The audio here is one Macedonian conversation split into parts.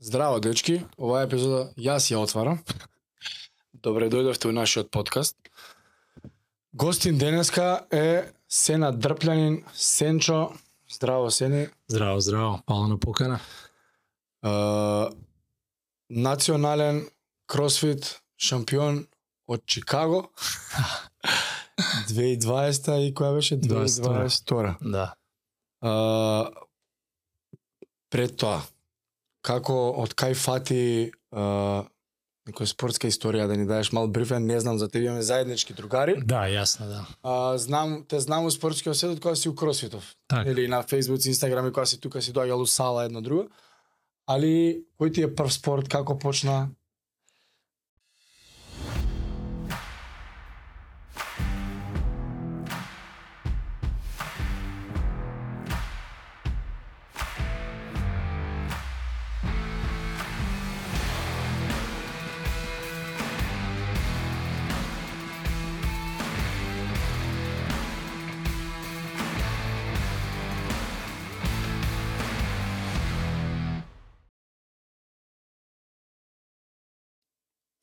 Здраво, дечки. Оваа епизода јас ја отварам. Добре дојдовте у нашиот подкаст. Гостин денеска е Сена Дрплянин, Сенчо. Здраво, Сени. Здраво, здраво. Пала на покана. Е, национален кросфит шампион од Чикаго. 2020 и која беше? 22-а. 2022. Да. А, пред тоа, како од кај фати а, некоја спортска историја да ни дадеш мал брифен, не знам за тебе имаме заеднички другари. Да, јасно, да. А, знам, те знам у спортскиот свет од кога си у кросфитов. Така. Или на Facebook, Instagram и кога си тука си доаѓал у сала едно друго. Али кој ти е прв спорт, како почна?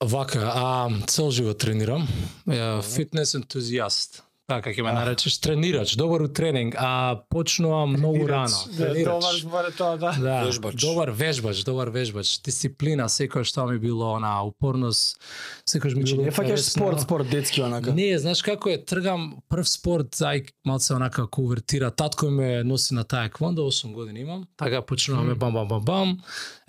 Вака, а цел живот тренирам. Ја, Фитнес ентузијаст. Така ќе ме наречеш тренирач, добар у тренинг, а почнувам многу рано. Тренирач. зборе тоа, Да, Да, Вежбач. добар вежбач, добар вежбач, дисциплина, секој што ми било она упорност, секој ми Значи, било. не фаќаш интересно. спорт, спорт детски онака. Не, знаеш како е, тргам прв спорт, ај малце онака конвертира. Татко ме носи на таа квондо, 8 години имам. Така почнуваме бам бам бам бам.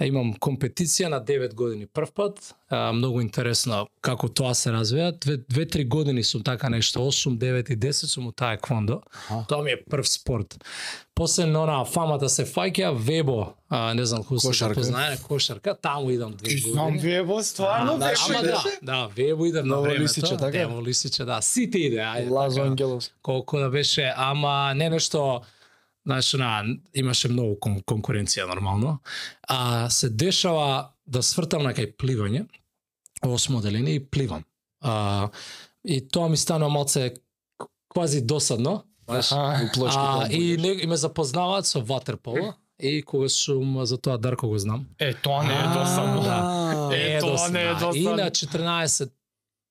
Е, имам компетиција на 9 години прв пат. А, многу интересно како тоа се развива. Две, две три години сум така нешто, 8, 9 и 10 сум у таа квондо. Аха. Тоа ми е прв спорт. После на она фамата се фаќа вебо, а, не знам кој се Кошарка. познае, кошарка, таму идам две години. вебо, А, да, ама да, да, Вебо иде на Ново времето. лисиче, така? Дево лисиче, да. Сите иде, ајде. Лазо така. Ангеловски. Колку да беше, ама не нешто Знаеш, на, имаше многу кон, конкуренција нормално. А се дешава да свртам на кај пливање, осмо одделение и пливам. А, и тоа ми станува малце к- квази досадно. Знаеш, Аха, у плошки. а, таму. и, не, и ме запознаваат со ватерполо. И кога сум, за тоа Дарко го знам. Е, тоа не е досадно. да. Е, тоа не е досадно. досадно. И на 14,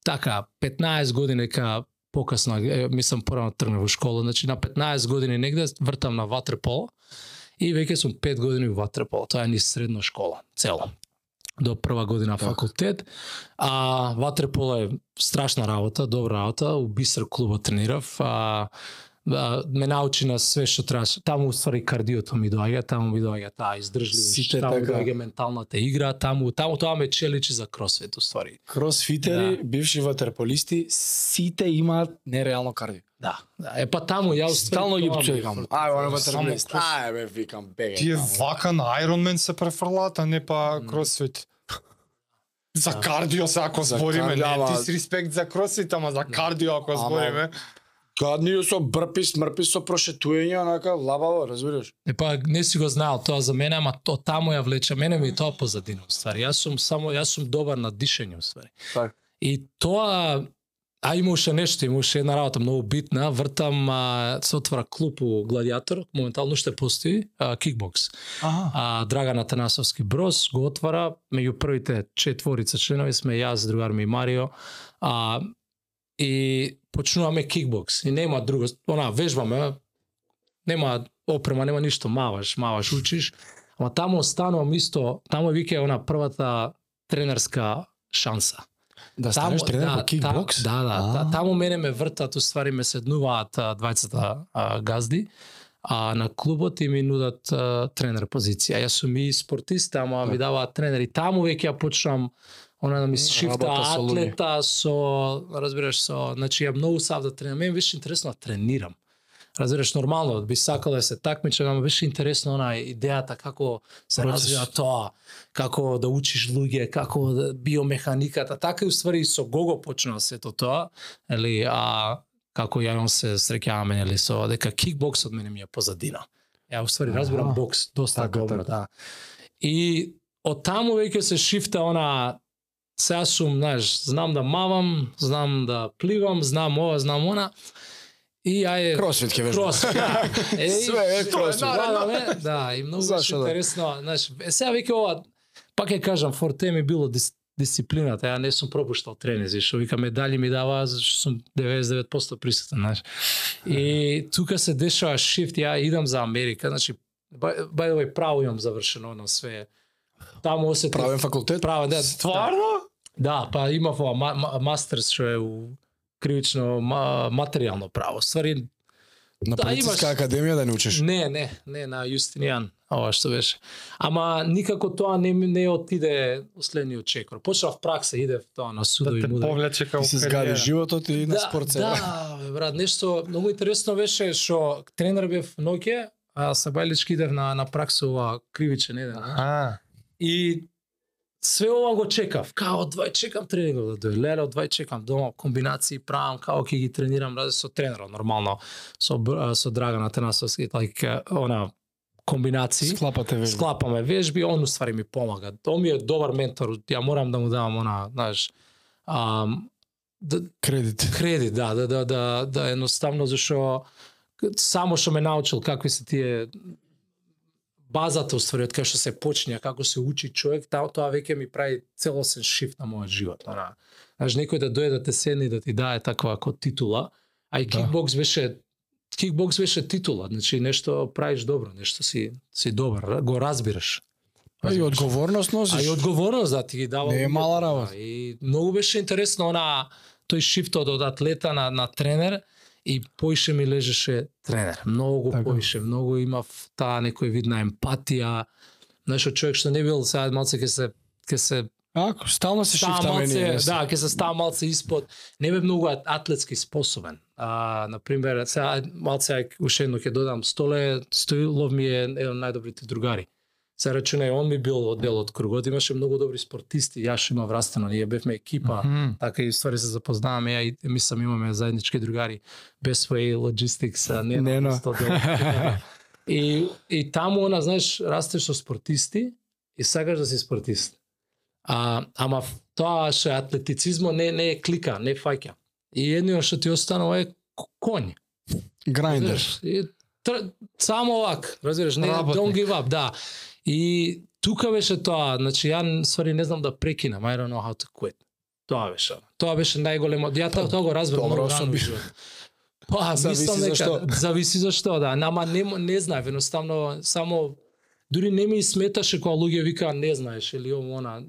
така, 15 години ка покасно, е, мислам порано тргнав во школа, значи на 15 години негде вртам на ватерполо и веќе сум 5 години во ватерполо, тоа е ни средна школа, цело до прва година Така. факултет. А ватерполо е страшна работа, добра работа, у Бисер клубот тренирав, а да, ме научи на све што требаше. Таму уствари кардиото ми доаѓа, таму ми доаѓа таа издржливост, Сите таму така. доаѓа менталната игра, таму таму тоа ме челичи за кросфит уствари. Кросфитери, да. бивши ватерполисти, сите имаат нереално кардио. Да. да. Е па таму ја уствари. Стално ги тоа ми е пчекам. фрт- Ај, оне Само ватерполист. крос- Ај, бе, викам, бегај. Тие таму. вака на Ironman се префрлат, а не па кросфит. За Да. кардио се ако За збориме, кардио, ама- не ти си респект за кросфит, ама Да. за кардио ако Ама- збориме. Гадни со брпи, смрпи, со прошетување, онака, лабаво, разбираш? Е па не си го знаел тоа за мене, ама то таму ја влече. Мене ми е тоа позадина уствари. Јас сум само јас сум добар на дишење уствари. Така. И тоа А имаше нешто, имаше една работа многу битна, вртам, а, се отвара клуб у Гладиатор, моментално уште постои, а, кикбокс. Аха. А Драган Атанасовски Брос го отвара, меѓу првите четворица членови сме јас, другар ми Марио, а, и почнуваме кикбокс. И нема друго, она, вежбаме, нема опрема, нема ништо, маваш, маваш, учиш. Ама таму останувам исто, таму вика е она првата тренерска шанса. Да да, Та, да, да, А. та, таму мене ме вртат, уствари ме седнуваат а, двајцата а, газди а на клубот и ми нудат а, тренер позиција. Јас сум и спортист, ама Да. ми даваат тренери. Таму веќе ја почнам она да ми се шифта Работа со луѓе. атлета со, разбираш, со, значи ја многу сав да тренирам. Мене ми беше интересно да тренирам. Разбираш, нормално, би сакал да се такмичам, ама беше интересно она идејата како се Процес. развива тоа, како да учиш луѓе, како да биомеханиката, така и уствари и со Гого почнува сето тоа, ели а како ја и он се среќаваме ели со дека кикбоксот мене ми е позадина. Ја уствари разбирам Аха. бокс доста Така, добро, така. да. И од таму веќе се шифта она сега сум, знаеш, знам да мавам, знам да пливам, знам ова, знам она. И ајде Кросфит ќе вежбаш. Крос. да. Е, Све е што кросфит. наредно, бе? Да, и многу беше Зашо да? интересно, знаеш, е, сега веќе ова Пак ја кажам, форте ми било дис, дисциплината. Ја не сум пропуштал тренинзи, што вика медали ми дава зашто сум 99% присутен, знаеш. И тука се дешава шифт, ја идам за Америка, значи by by the way, право имам завршено на све. Таму осетив Правен факултет? право, да. Стварно? Да, па имав ова ма, ма, мастерс што е у кривично ма, материјално право. Ствари На Да, полициска имаш- академија да не учиш. Не, не, не на Јустинијан, ова што беше. Ама никако тоа не ми- не отиде следниот чекор. Почнав пракса, идев тоа на судови Да те мудри. повлече као Ти се згади кариера. животот и на Да, спорт се. Да, бе, брат, нешто многу интересно беше што тренер бев ноќе, а Сабајлички идев на на пракса ова кривичен еден. а? А, И све ова го чекав. Као, од двај чекам тренингот да дојде. Леле, од двај чекам дома, комбинации правам, као ќе ги тренирам ради со тренерот, нормално. Со, Бр- со Драган Атанасовски, like, е, она, комбинации. Склапате ве. Склапаме вежби, он уствари ми помага. Он ми е добар ментор, ја морам да му давам она, знаеш, ам, да, Кредит. кредит, да, да, да, да, да, едноставно зашо само што ме научил какви се тие базата уствари од кај што се почиња, како се учи човек, та, тоа веќе ми прави целосен шифт на мојот живот. Ана. Знаеш, некој да дојде да те седне и да ти дае таква како титула, а и Да. кикбокс беше кикбокс беше титула, значи нешто правиш добро, нешто си си добар, го разбираш. А Па и одговорност А носиш. и одговорност да ти ги дава. Не е мала луѓето, работа. да. И многу беше интересно она тој шифтот од атлета на на тренер и поише ми лежеше тренер. Многу Така. поише, многу имав таа некој вид на емпатија. Знаеш, од човек што не бил сега малце ќе се ќе се Ако, стално се става шифтаме ние. малце, не се. да, ќе се става малце испод. Не бе многу ат- атлетски способен. А на пример, сега малце уште едно ќе додам, Столе Стоилов ми е еден од најдобрите другари. Се рачунај, он ми бил од дел од кругот, имаше многу добри спортисти, јас што имав растено, ние бевме екипа, мгм. така и ствари се запознаваме, ја и мислам имаме заеднички другари, Best Way Logistics, а не, Нено. на И, и таму, она, знаеш, растеш со спортисти и сакаш да си спортист. А, ама ф- тоа што е атлетицизмо не, не е клика, не фаќа. И едно што ти останува е к- конј. Грайндер. Знаеш, и тр- Само овак, разбираш, не Работник. don't give up, да. И тука беше тоа, значи ја н- ствари не знам да прекинам, I don't know how to quit. Тоа беше. она. Тоа беше најголемо. Ја тоа, тоа го разбрав добра многу рано. во особи- живот. Па, Зависи мислам за дека, што. зависи за што, да. Нама не, м- не знаев, едноставно, само дури не ми сметаше кога луѓе викаа не знаеш или ово она.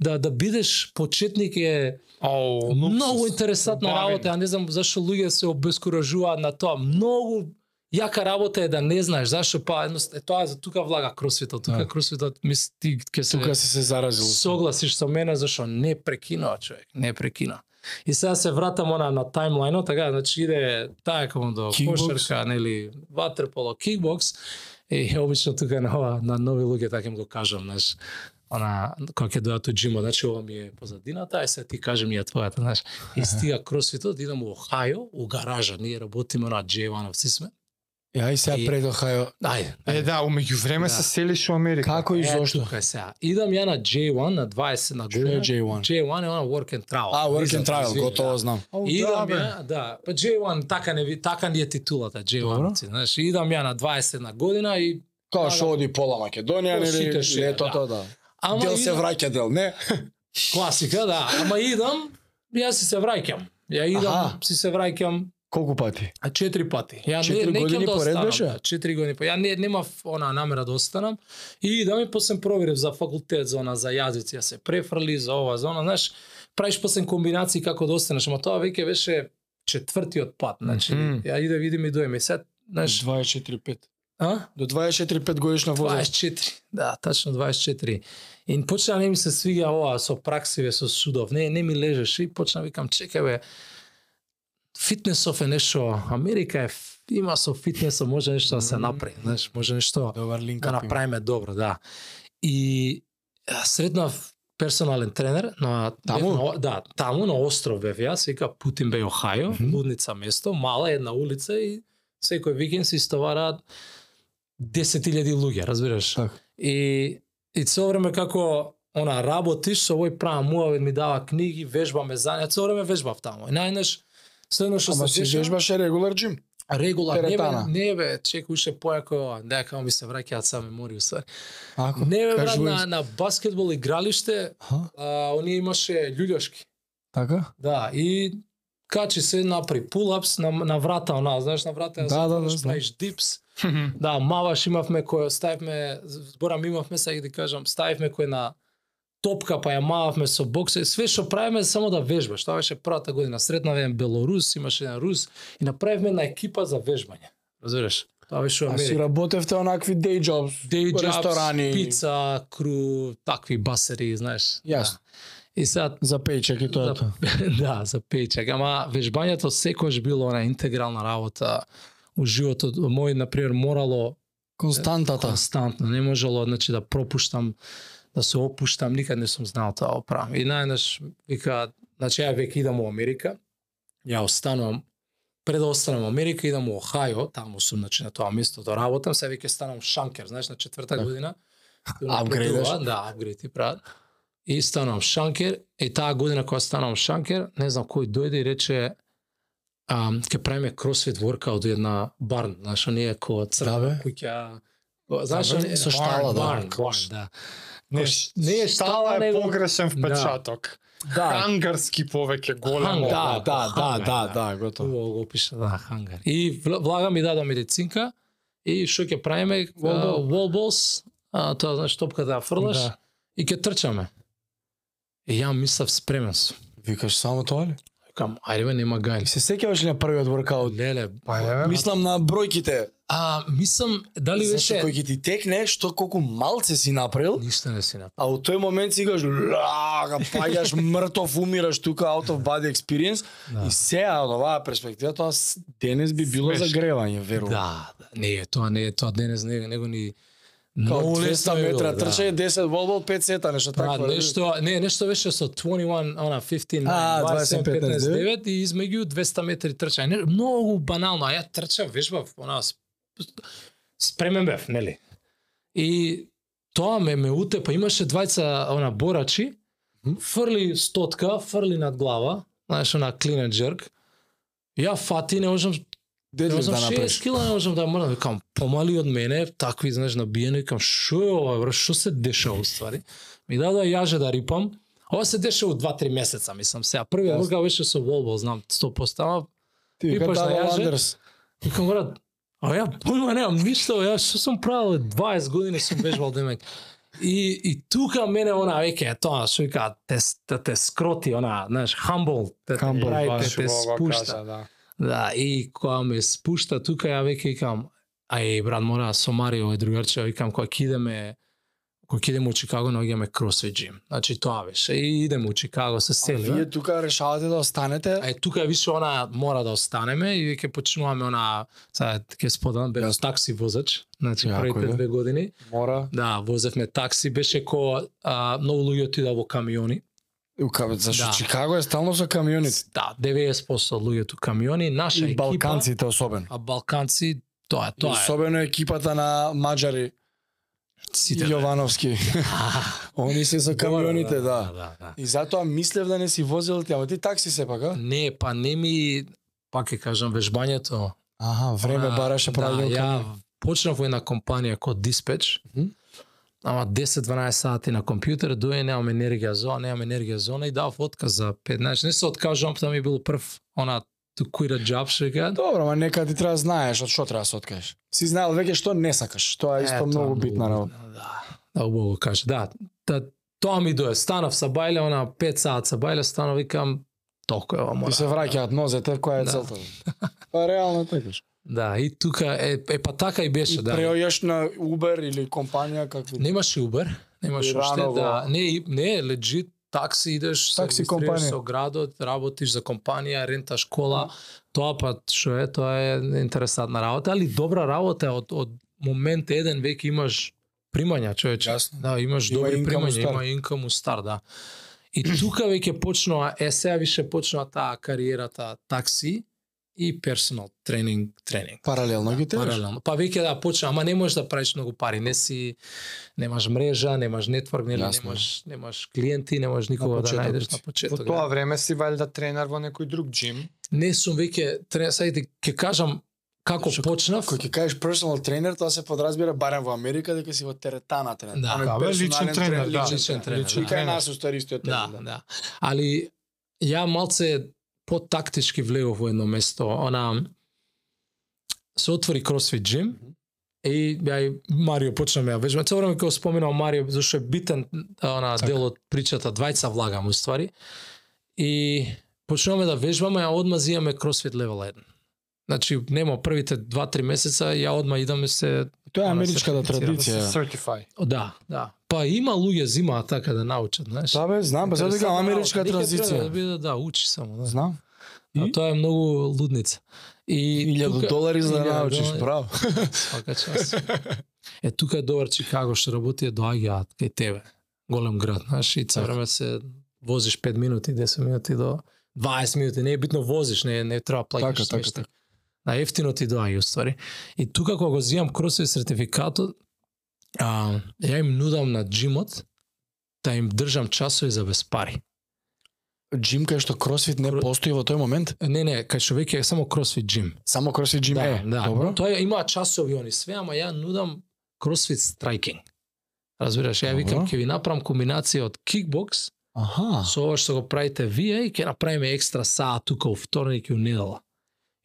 Да да бидеш почетник е Оу, луксус. Многу интересантна Убавина. работа, а не знам зашо луѓе се обескуражуваат на тоа. Многу јака работа е да не знаеш зашо па едност, е, тоа за тука влага кросфитот, тука Да. кросфитот мисли ти ќе се Тука си се заразил. согласиш со мене зашо не прекинува човек, не прекина. И сега се вратам она на таймлайнот, така, значи иде таа како до Кикбокс. кошарка, нели, ватерполо, кикбокс. И обично тука на ова, на нови луѓе така им го кажам, знаеш, она кога ќе дојдат у джимо, значи ова ми е позадината, ај сега ти кажам ја твојата, знаеш. И стига кросфитот, идам во Охајо, у гаража, ние работиме на Джеванов, си сме. Е, Ај сега И- пред Охајо. Ајде, Е, да, умеѓу време Да. се селиш у Америка. Како и Е, зошто? тука е сега. Идам ја на J1, на 20 на Што е година. J1? J1 е она work and travel. А, work Виза, and trial, извини, готово да. знам. Оу, И идам бе. ја, да, па J1 така не ви, така ни е титулата Добро. J1, ти, знаеш, идам ја на 21 година и Као што оди пола Македонија, Тоа нели, сите ше, летото, да. ама Дел се идам- враќа дел, не? класика, да, ама идам, јас си се враќам. Ја идам, Аха. си се враќам Колку пати? а четири пати. Ја Четири не, не години години да поред останам, беше? Да, четири години. по- Ја не, немав она намера да останам и да идам и посем проверив за факултет, за она, за јазици, ја се префрли, за ова, за она, знаеш, правиш посем комбинации како да останеш, ама тоа веќе беше четвртиот пат, значи, Мгм. ја иде видим и доеме. Сега, знаеш, 24-5. а? До 24-5 годишна возраст. 24, да, тачно 24. И почна не ми се свига ова со праксиве, со судов, не, не ми лежеше и почна викам, чекај бе, фитнесов е нешто, Америка е, ф- има со фитнесом, може нешто да се направи, знаеш, може нешто Добар линк. да направиме добро, да. И а, среднав персонален тренер на Таму? бев на, да, таму на остров бев јас, вика Путин бе Охајо, Мгм. лудница место, мала една улица и секој викенд се истовараат 10.000 луѓе, разбираш? Така. И и цело време како она работиш со овој прав муавет ми дава книги, вежбаме за неа, цело време вежбав таму. И најнеш следно што Ама се си дешава- вежбаше регулар джим. Regular, ne Teretana. bе, не бе, чек уште појако, ова. да, како ми се враќаат саме мори уста. Ако, Не бе, брат, кажи го на, из- на баскетбол игралиште, Аха, а, они имаше луѓешки. така? Да, и качи се направи пулапс на, на врата, она, знаеш, на врата ја Да, да, затвориш, да, знам. правиш дипс. Да, маваш имавме кој ставивме, зборам имавме, сега да кажам, ставивме кој на топка, па ја мававме со боксе, све што правиме е само да вежбаш. Тоа беше првата година. Среднаве еден белорус, имаше еден рус и направивме на екипа за вежбање. Разбираш? Тоа беше А си Америка. работевте онакви day jobs, Day jobs, ресторани, пица, кру, такви басери, знаеш. Јасно. Да. И сега за пейчек и тоа е тоа. да, за пейчек. Ама вежбањето секогаш било на интегрална работа у животот мој, например, морало Константата. константно, не можело значи да пропуштам, да се опуштам, никад не сум знал тоа оправам. И најнаш вика, значи ја веќе идам у Америка, ја останувам пред да останам во Америка, идам у Охајо, таму сум значи на тоа место да работам, сега веќе станам шанкер, знаеш, на четврта година. Ти Апгрейдаш. напредува, Да, апгрейд ти прават. И станам шанкер, и таа година кога станам шанкер, не знам кој дојде и рече ам, ке правиме кросфит воркаут во една барн, знаеш, оние кој Да, црна бе. куќа, знаеш, Да, бе, оние- со барн, штала, да. барн, барн, да. Не, Кош- не е Да. штала, е него- Да. погрешен впечаток. Хангарски повеќе големо. Хангар. Да, да, да, да, Хангар, да, готово. Убаво го опиша, да, хангар. И вл- влага ми дада медицинка и што ќе правиме Волбол. волболс, тоа знаеш топката ја фрлаш Да. и ќе трчаме. И ја мислав спремен сум. Викаш само тоа ли? Кам, ајде бе, нема И гајн. се сеќаваш ли на првиот воркаут? Леле, Па е, бе. Мислам на бројките. а мислам дали Значи, беше кој ќе ти текне, што колку малце си направил, ништо не си направил. а у тој момент си играш, лага, паѓаш мртов, умираш тука, out of body experience. Да. И сега, од оваа перспектива, тоа с- денес би било Смешно. загревање, верувам. Да, да, не е тоа, не е тоа денес, не е, него ни Као многу лесно 200 е било, метра да. трчање, 10 волбол, 5 сета, нешто Брат, такво. да нешто, не, нешто беше со 21, она 15, А, 27, 15, 15, и измеѓу 200 метри трчање. Не, Многу банално, а ја трчав, вежбав, она сп- спремен бев, нели? И тоа ме ме утепа, имаше двајца она борачи, фрли стотка, фрли над глава, знаеш, она clean and jerk. Ја фати, не можам Дед Ја ли да знам 6 направиш? кила не можам да мрдам, викам помали од мене, такви знаеш набиено, викам што е ова, бре, што се дешава уствари? Ми дада јаже да рипам. Ова се дешава 2-3 месеца, мислам сега. Првиот Јасно. рука беше со волбол, знам 100%, ама Ти Пипаш да вика на Дава јаже? Ландерс. викам брат, а ја појма немам ништо, ја што сум правил 20 години сум бежал демек. И и тука мене она веќе е тоа што вика те с- те, те скроти она, знаеш, humble, те, те Humble, прави, Баш те, те го го спушта. кажа, да. Да, и кога ме спушта тука, ја веќе викам, ај, брат, мора со Марио и другарче, викам, кога ќе идеме, кога ќе идеме у Чикаго, наоѓаме кросфит джим. Значи, тоа беше. И идеме у Чикаго, се А селиме. Вие тука решавате да останете? Е, тука е више она мора да останеме и ќе почнуваме она, сега ќе споделам, бе, Јасно. такси возач, значи Јако првите е. две години. Мора. Да, возевме такси, беше ко а, многу луѓе отида во камиони. У кабе, зашто Да. Чикаго е стално со камионите. Да, 90% од луѓето камиони, наша И екипа, балканците па. особено. а балканци, тоа Тоа е, тоа е. особено екипата на Маджари Сите, да. Јовановски. Они се со камионите, да. да, да. И затоа мислев да не си возил ти, ама ти такси сепак, а? Не, па не ми пак ќе кажам вежбањето. Аха, време А, бараше правилно. Да, ја камион. почнав во една компанија код диспеч. Мгм. Ама 10-12 сати на компјутер, дојде немам енергија за ова, немам енергија за она и дав отказ за 15. Не се откажувам, тоа ми било прв она to quit a job што ја Добро, ма нека ти треба да знаеш од што треба да се откажеш. Си знаел веќе што не сакаш. Тоа е исто многу битна работа. Да, да, убаво го кажа. Да, та, тоа ми дое. Станав са бајле, она 5 саат са бајле, станав викам, толку е ова мора. Ти се враќаат нозете, која е Да. целта? Па реално е така. Да, и тука, е, е па така и беше, И да. преојаш на Uber или компанија какви Немаш Uber, немаш И уште, рано го- да, не, не, легит, такси идеш, се Такси регистрираш компанија. со градот, работиш за компанија, ренташ кола, тоа па што е, тоа е интересантна работа, али добра работа е од, од момент еден веќе имаш примања, човече. Јасно. Да, имаш Има добри income у примања, стар. има инкам у стар, да. И тука веќе почнува, е сега више почнува таа кариерата такси и персонал тренинг, тренинг. паралелно ги тераш. Паралелно. Па веќе да почна, ама не можеш да правиш многу пари, не си немаш мрежа, немаш нетворк, нели, Јасно. немаш немаш клиенти, немаш никога да почетокот. најдеш на Во почеток. тоа да. време си валјда тренер во некој друг джим. Не сум веќе тренер, сега ќе кажам како Шо- почнав, Кој ќе кажеш personal trainer, тоа се подразбира барем во Америка дека си во терета на тренер. Да. а не Да, бе, личен персонален тренер, да. Личен тренер, Личен да. И кај нас устари истиот да, терен. да. да. Али ја малце потактички влегов во едно место. Она се отвори кросфит джим и ја и Марио почна ме ја вежба. Цело време кога споменав Марио, зашто е битен а, она Така. дел од причата, двајца влагам уствари. И почнуваме да вежбаме, а одма зијаме кросфит левел 1. Значи, нема првите 2-3 месеца, ја одма идам се Тоа е Она американската Да се традиција. certify. Да, да. Па има луѓе зимаат така да научат, знаеш. Да бе, знам, па затоа Интересантна кажам американска работа. Нике треба Да, транзиција. биде, да, учи само, да. Знам. А тоа е многу лудница. И Илјаду тука- долари за да Илјаду научиш, долари. право. Свака час. Е, тука е добар Чикаго што работи, е доаѓаат кај тебе. Голем град, знаеш, и цел Така. време се возиш 5 минути, 10 минути до 20 минути, не е битно возиш, не, не треба плаќаш Така, така, ништо. На ефтино ти доаѓа уствари. И тука кога го зијам кросови сертификатот, а, ја им нудам на джимот да им држам часови за без пари. Джим кај што кросфит не Кро- постои во тој момент, Е, Не, не, кај што веќе е само кросфит джим. само кросфит джим е. да. Добро? Тоа има часови они све, ама ја нудам кросфит страйкинг. Разбираш, ја Добро. викам ќе ви направам комбинација од кикбокс Аха. со ова што го правите вие и ќе направиме екстра саат тука у вторник и у недела.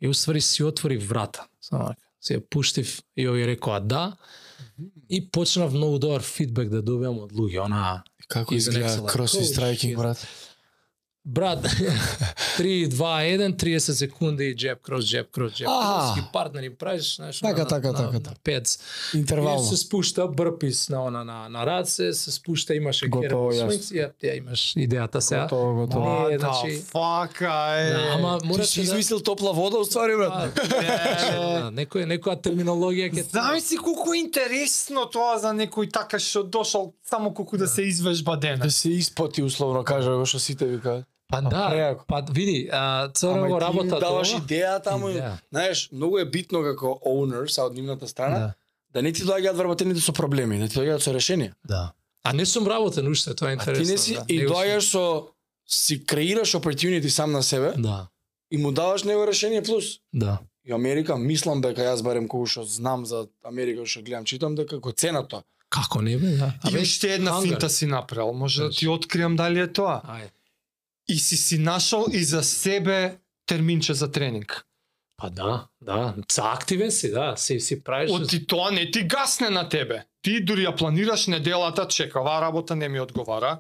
И уствари си отвори врата. Само така. Си ја пуштив и овие рекоа да. И почнав многу добар фидбек да добивам од луѓе. Она, Како He's an изгледа excellent кросфит coach. страйкинг, He's- брат? брат, 3, 2, 1, 30 секунди и джеб, крос, джеб, крос, джеб. Аа. Ски партнери правиш, знаеш, Така, на- така, на, така, на така. пец. Или Интервално. се спушта брпис на она на на раце, се спушта имаше Готово, јасно. ја, ја имаш идејата сега. Готово, готово. Ма, What значи- the fuck, ај. Да, ама мора Ти си измислил топла вода, уствари, брат. да, некој некоја терминологија ќе Знам си колку е интересно тоа за некој така што дошол само колку да се извежба дена. Да се испоти, условно кажа, го што сите викаат. Па да, преако. па види, а Ама цела и го ти им работа даваш тоа. идеја таму. и- Идеја. Знаеш, многу е битно како owner са од нивната страна да, Да, не ти доаѓаат вработените со проблеми, да ти доаѓаат со решенија. да. А не сум работен уште, тоа е А интересно. ти не си да. и Него сум- доаѓаш со си креираш opportunity сам на себе Да, и му даваш него решение плюс. да. И Америка, мислам дека јас барем кога што знам за Америка, што гледам, читам дека го цена тоа. Како не бе, да. И уште една хангар. Значи. финта си направил, може да Знаеш. ти откриам дали е тоа. Ај. И си си нашол и за себе терминче за тренинг. Па да, да, са активен си, да, си си правиш. Оти тоа не ти гасне на тебе. Ти дури ја планираш неделата, чека, оваа работа не ми одговара.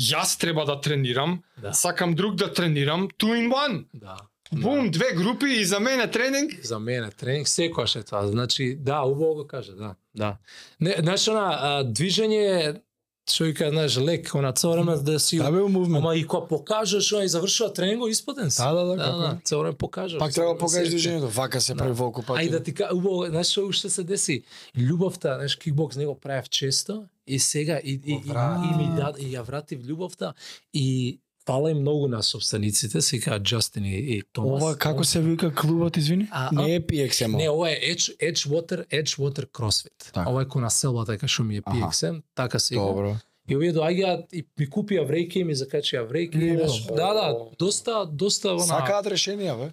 Јас треба да тренирам, Да. сакам друг да тренирам, two in one. Да. Бум, две групи и за мене тренинг. за мене тренинг секогаш е тоа. Значи, да, убаво го кажа, да, да. Не, знаеш, она, а, движење е, што ја знаеш, лек, она цело време да си... бе, мувмент. Ама и кога покажеш, она и завршува тренингот исподен си. Да, да, да, да, како. да, Да, цело време покажеш. Пак треба да покажеш Се- движењето, вака се Да. прави волку пак. Ај да ти кажа, убаво, знаеш што уште се деси? Љубовта, знаеш, кикбокс не го правев често и сега и, и, и, Вра- и, ми дад, и ја вратив љубовта и фала им многу на собствениците, си кажа Джастин и, и Томас. Ова како се вика клубот, извини? А, а- Не е PXM. Не, ова е Edge, Edgewater, Edgewater CrossFit. Така. Така. Ова е кона селбата кај што ми е Аха. PXM, така се игра. Добро. И овие доаѓаат и ми купија вреќи и ми закачија вреќи. Не, и знаеш, бе. Да, да, доста, доста она. Сакаат решенија, бе.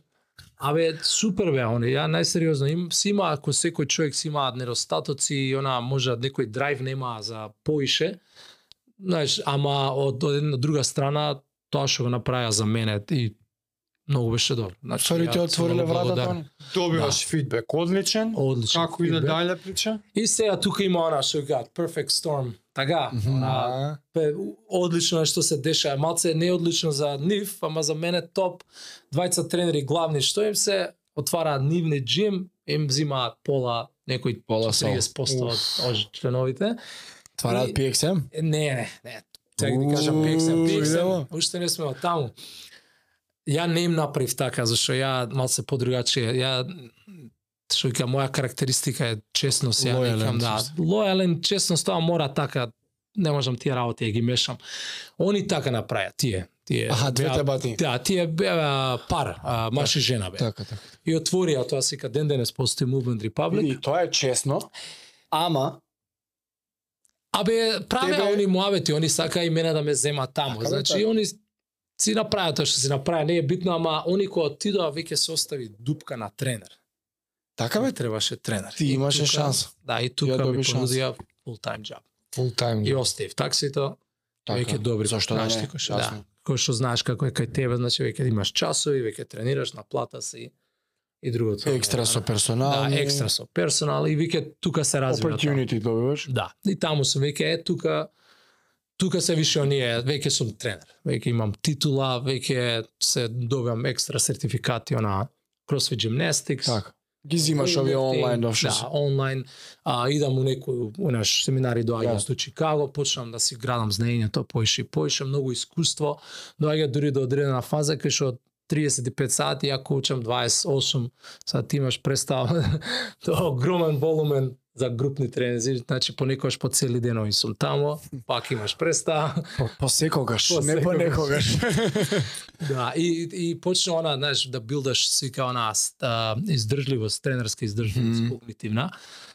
Абе, супер бе, они, ја најсериозно, им си има, ако секој човек си има недостатоци и она може да некој драйв нема за поише. Знаеш, ама од, од една друга страна тоа што го направија за мене и многу беше добро. Значи, Сори ја ти сум отвориле Значи, многу вратата. благодарен. они? Добиваш фидбек, одличен. Одличен. Како да иде фидбек. дале прича? И сега тука има она што кажат Perfect Storm. Така, она, А, пе, одлично е што се дешава. Малце е неодлично за нив, ама за мене топ. Двајца тренери главни што им се отвараат нивни джим, им взимаат пола некои Пола сол. 30% од, од членовите. Тварат И- PXM? Е, Не, не, не. Чак да кажам Уу, PXM, идемо. PXM, уште не сме од таму. Ја не им направив така, зашто ја малце подрugачие, ја што ја моја карактеристика е честност, ја Лојален викам да. си. Лојален, честност, тоа мора така, не можам тие работи ја ги мешам. Они така направија, тие. тие Аха, двете беа- бати. Да, тие беа пар, а, маж и жена бе. Така, така. И отворија тоа сека ден денес постои Movement Republic. Види, тоа е честно. Ама, Абе, правеа Тебе- они муавети, они сака и мене да ме зема Така таму. бе, значи, така. они си направија тоа што си направија, не е битно, ама они кога отидоа веќе се остави дупка на тренер. Така бе, требаше тренер. ти И имаше тука- шанс. Да, и Ја тука ми доби шанс. понудија full-time job. Full И time. оставив таксито, веќе добри. Зашто да знаеш не? ти кој што- Јасно. да. Кој што знаеш како е кај тебе, значи веќе имаш часови, веќе тренираш на плата си и другото. Екстра со Да, персонал. екстра со персонал и веќе тука се развива. тоа. Opportunity добиваш. Да, и таму сум веќе е тука тука се више оние, веќе сум тренер, веќе имам титула, веќе се добивам екстра сертификати она CrossFit Gymnastics. Така. Ги зимаш овие Weightlifting, онлайн до Да, онлайн. А, идам у некој у наш семинари доаѓам Да. до Чикаго, почнам да си градам знаењето поише и поише, многу искуство. Доаѓа дури до одредена фаза кај што од 35 сати, ја коучам 28, сега ти имаш представа, тоа е огромен волумен за групни тренинзи, значи понекогаш по цели денови сум таму, пак имаш представа. По, по секогаш, не Посекогаш. по некогаш. Да, и, и почна она, знаеш, да билдаш сика она а, издржливост, тренерска издржливост, Мгм. когнитивна.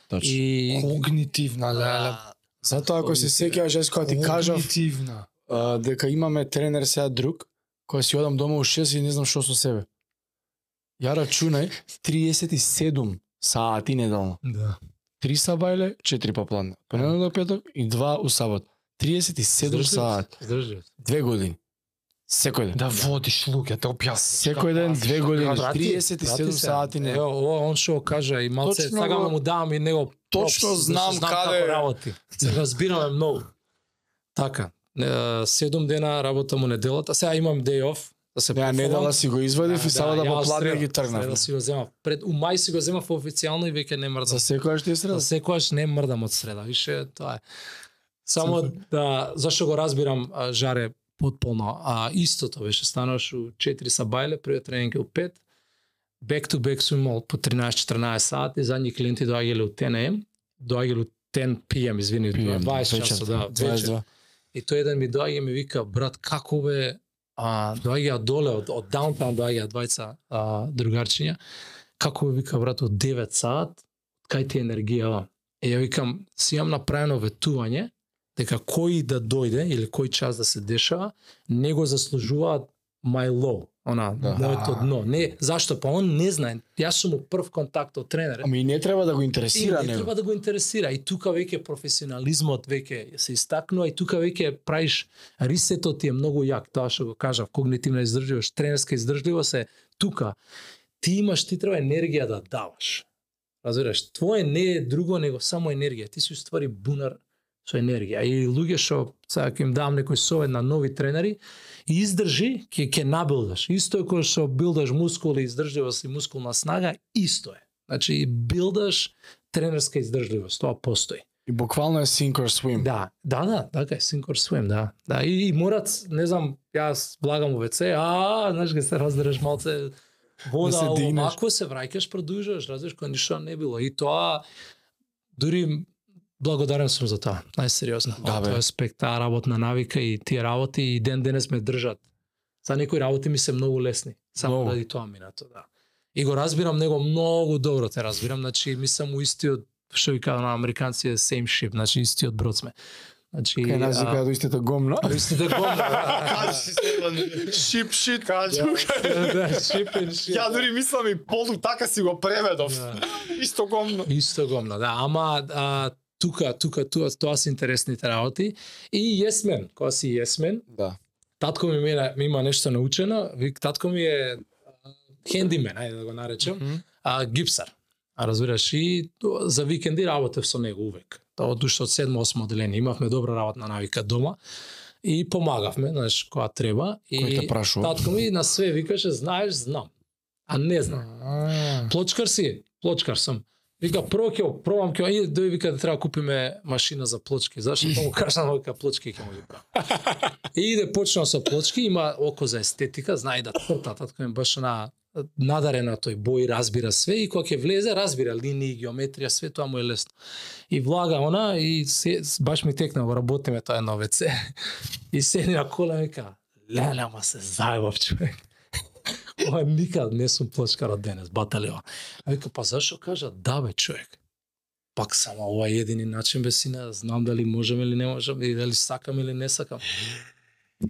Точно. И Когнитивна, леле. а, Затоа да, ако се Когнитивна. сеќаваш јас кога ти кажав Когнитивна. а, дека имаме тренер сега друг, кога си одам дома у 6 и не знам што со себе. Ја рачунај 37 сати неделно. да. 3 са бајле, 4 по план. Понеделник до петок и 2 у сабот. 37 сати, Издржливост. две години. Секој ден. Да водиш луѓето, објасни. Секој ден две години, да Брати, 37 брати се. сати Ево, не. ова он што кажа и малце Точно сакам го- да му давам и него Точно props, знам зашто каде е. како работи. Се разбираме многу. Така, е, седум дена работам у неделата, сега имам day off, да се Ја недела си го извадив и сада да ја по среда- пладне ги среда тргнав. си го земав. Пред у мај си го земав официјално и веќе не мрдам. За секојаш ти е среда. За Да секојаш не мрдам од среда, више тоа е. Само да, зашто го разбирам, а, Жаре, потполно, а истото беше, стануваш у 4 са бајле, првиот тренинг е у 5, back to back сум имал по 13-14 сати, задни клиенти доаѓале у 10 am, доаѓале у 10 pm, извини, Пијам, 20 вечер, часа, да, вечер. 22. И тој еден ми доаѓа и ми вика, брат, како бе, а, доаѓа доле, од, од даунтаун доаѓа двајца а, другарчиња, како бе, вика, брат, од 9 саат, кај ти е енергија ова? И ја викам, си имам направено ветување, дека кој да дојде или кој час да се дешава, не го заслужуваат my low, она, Да. моето дно. Не, зашто? Па он не знае. Јас сум му прв контакт од тренер. Ами и не треба да го И интересира не него. треба да го интересира. И тука веќе професионализмот веќе се истакнува и тука веќе правиш рисетот ти е многу јак, тоа што го кажав, когнитивна издржливост, тренерска издржливост е тука. Ти имаш, ти треба енергија да даваш. Разбираш, твое не е друго него само енергија. Ти си уствари бунар со енергија. И луѓе што сега ќе им давам некој совет на нови тренери, и издржи, ќе ќе набилдаш. Исто е кој што билдаш мускул и издржливост и мускулна снага, исто е. Значи, и билдаш тренерска издржливост, тоа постои. И буквално е sink or swim. Да, да, да, така е, sink or swim, да. Да, и, и морат, не знам, јас влагам у WC, а, знаеш, ге се раздереш малце Да се вода, да дигнеш. ако се враќаш, продолжуваш, разбираш, кога ништо не било. И тоа, дури благодарен сум за тоа, најсериозно. Да, бе. тоа е аспект, таа работна навика и тие работи и ден денес ме држат. За некои работи ми се многу лесни, само Многу. ради тоа минато, да. И го разбирам него многу добро, те разбирам, значи ми сам у истиот што ви кажа на американци е same ship, значи истиот брод сме. Значи Кај нас а, викаат до истата гомна. истите гомна. Шип шит, кажи. Да, ship and ship. Ја дури мислам и полу така си го преведов. Исто гомно. Исто гомна, да, ама а, тука, тука, тука, тоа се интересните работи. И јесмен, кога си јесмен, Да. татко ми, мина, ми има нешто научено, вик, татко ми е а, хендимен, ајде да го наречем, а, гипсар. А разбираш, и то- за викенди работев со него увек. Тоа од уште од 7-8 одделение. Имавме добра работна навика дома и помагавме, знаеш, кога треба. Кој те И прашува? татко ми на све викаше, знаеш, знам. А не знам. Плочкар си? Плочкар сум. Вика, прво ќе го пробам, ќе го- и дој вика да треба купиме машина за плочки. Зашто тоа му кажам, вика, плочки ќе му ги правам. И иде почнал со плочки, има око за естетика, знае да црта, татко ми баш на надарен на тој бој, разбира све и кога ќе влезе, разбира линии, геометрија, све тоа му е лесно. И влага она и се, баш ми текна, го работиме тоа едно веце. И седи на кола и вика, леле, ама се заебав човек. Ова никад не сум плачкар од денес, баталео. А вика, па зашо кажа, да бе човек. Пак само ова е едини начин бе сине, да знам дали можам или не можам, и дали сакам или не сакам.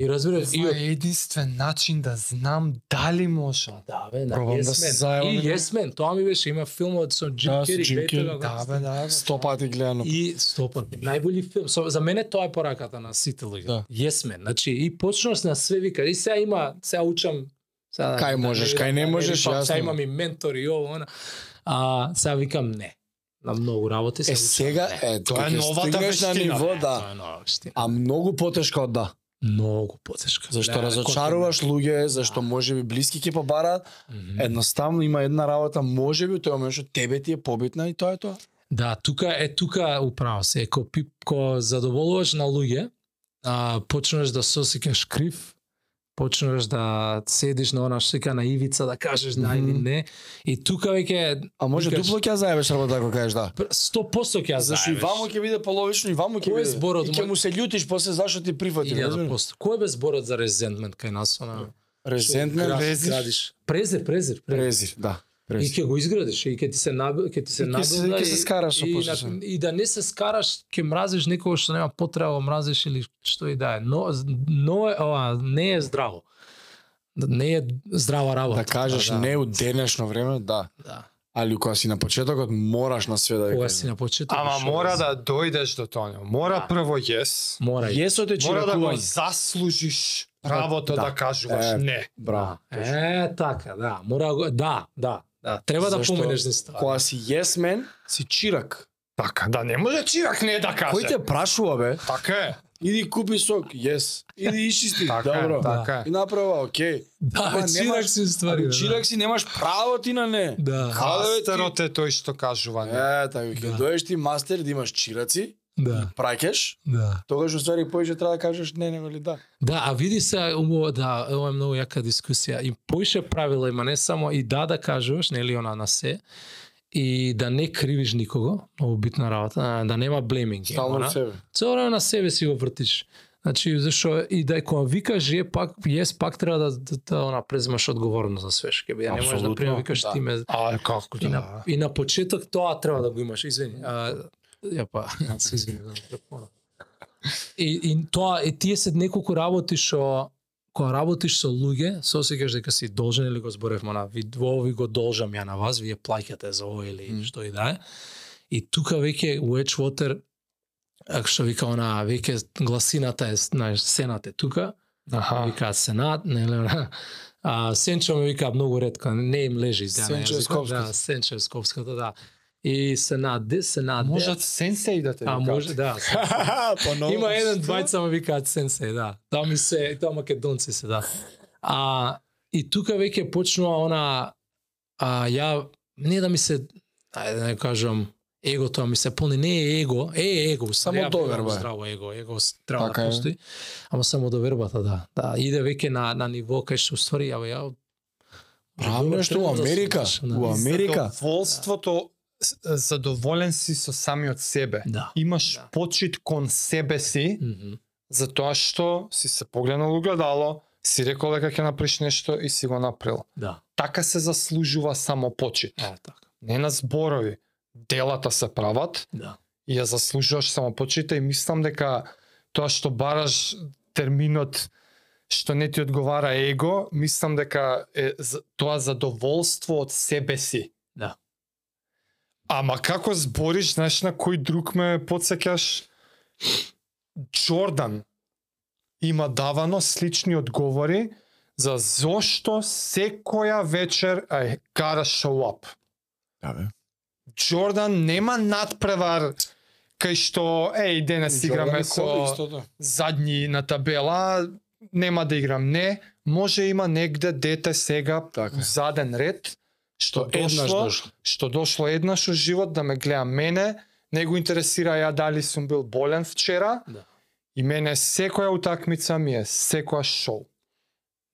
И разбира и Тоа е единствен начин да знам дали можам. да бе, на Пробам да Yes се Man. зајавам и и да- Yes Man, тоа ми беше има филмот со Джим Да, со Кери, Джим Бетел, Кери, ако- Да, бе, да. бе. Сто пати гледано. И стопот. Најболи филм. Со, за мене тоа е пораката на сите луѓе. Да. Yes Man. Значи и почнуваш на све вика. И сега има, сега учам сега Кај можеш, да кај не верам, можеш, па, јасно. Сега имам и ментори и ово она. А сега викам не. На многу работи се Е учам, сега, не. е, Тоа тоа е е новата стигнеш на вештина, ниво, Не, да. Тоа е нова вештина. А многу потешко од да. Многу потешка. Зашто Да, разочаруваш луѓе, зашто можеби блиски ќе побараат, Мгм. едноставно има една работа, можеби тој момент што тебе ти е побитна и тоа е тоа. Да, тука е тука управо се. Еко пипко задоволуваш на луѓе, а почнуваш да се осеќаш крив, почнуваш да седиш на она што се вика на ивица да кажеш да или Мгм. не. И тука веќе А може Викаш- дупло ќе ја зајавеш работа ако кажеш да. 100% ќе ја Зашто и заебеш. ваму ќе биде половично, и ваму ќе Кој е биде. зборот, И ќе ма- му се љутиш после зашто ти прифати. 1000%. Кој бе зборот за резентмент кај нас? Она... Резентмен Гра- презир. градиш. Презир, презир, презир. презир, да. И Презир. ќе го изградиш, и ќе ти се наб, ќе ти се И ќе се- набила ќе и- се скараш со и, почеша. на- и да не се скараш, ќе мразиш некого што нема потреба да го мразиш или што и да е. Но но е, ова не е здраво. Не е здрава работа. Да кажеш да, не у денешно време, да. Да. Али кога си на почетокот мораш на све да Кога ја си кажеш. на почеток. Ама шо мора е за- да дојдеш до тоа. Мора Да. прво јес. мора. и- Јесот е Мора да го чиракување. заслужиш правото Да. да кажуваш Е, не. Браво. Е, така, да. Мора го- да, да, да. Треба да Зашто поменеш низ тоа. Кога си јесмен, си чирак. Така, да не може чирак не да каже. Кој те прашува бе? Така е. Иди купи сок, јес. Иди исчисти, Така е, добро. така И е. направа, окей. Да, Ама бе, чирак немаш- се ствари. Али бе, да. чирак си немаш право ти на не. Да, Хале, бе, ти. Мастерот е тој што кажува не. Е, така ќе Да. доеш ти мастер да имаш чираци, да, праќаш, да. тогаш у ствари поише треба да кажеш не него ли да. Да, а види се, ово, да, ова е многу јака дискусија. И поише правила има, не само и да да кажуваш, нели она на се, и да не кривиш никого, многу битна работа, а, да нема блейминг. Стално од себе. Цело време на себе си го вртиш. Значи, зашо и да кога викаш е пак јес пак треба да да, да она преземаш одговорност за све што ќе биде. Не можеш да Апсолутно, према викаш да. ти ме А како да? и на, и на почеток тоа треба да го имаш, извини. А, ја па, ја се извини за микрофона. И, и тоа, и тие се неколку работи што кога работиш со луѓе, се осеќаш дека си должен или го зборевме на ви во ви го должам ја на вас, вие плаќате за ово или Мгм. што и да е. И тука веќе у Edgewater а, што вика она, веќе гласината е, знаеш, сената е тука, Аха. вика сенат, нели, а Сенчо ми вика многу ретко, не им лежи изјава. на Сенчо јазикот. е скопската. Да, Сенчо е скопската, да. И сенат, де, сенат, де. Можат сенсеј да те а викаат. може, да. Поново. Има еден двајца ме викаат сенсеј, да. Тоа ми се, и тоа македонци се, да. А, и тука веќе почнува она, а, ја, не да ми се, ајде да не кажам, его тоа ми се полни, не е его, е его, Само Ја доверба имам е. Здраво его, его с- треба Така е. да постои. Ама само довербата, да. Да, иде веќе на, на ниво кај што ствари, ја, ја, Правно е што у Треба да се Америка, слушаш, да. у Америка. Задоволството с- задоволен си со самиот себе. Да. Имаш Да. почит кон себе си Мгм. за тоа што си се погледнал у гледало, си рекол дека ќе направиш нешто и си го направил. Да. Така се заслужува само почит. Е, така. Не на зборови. Делата се прават, Да. и ја заслужуваш само почита и мислам дека тоа што бараш терминот што не ти одговара его, мислам дека е з- тоа задоволство од себе си. Да. Ама како збориш, знаеш на кој друг ме подсеќаш? Джордан има давано слични одговори за зошто секоја вечер I gotta show up. Да, бе. Джордан нема надпревар кај што еј денес играме со Истото. задни на табела, нема да играм не, може има негде дете сега Така е. у заден ред што Еднаш дошло, дошло. што дошло еднаш у живот да ме гледа мене, не го интересира ја дали сум бил болен вчера. Да. И мене секоја утакмица ми е секоја шоу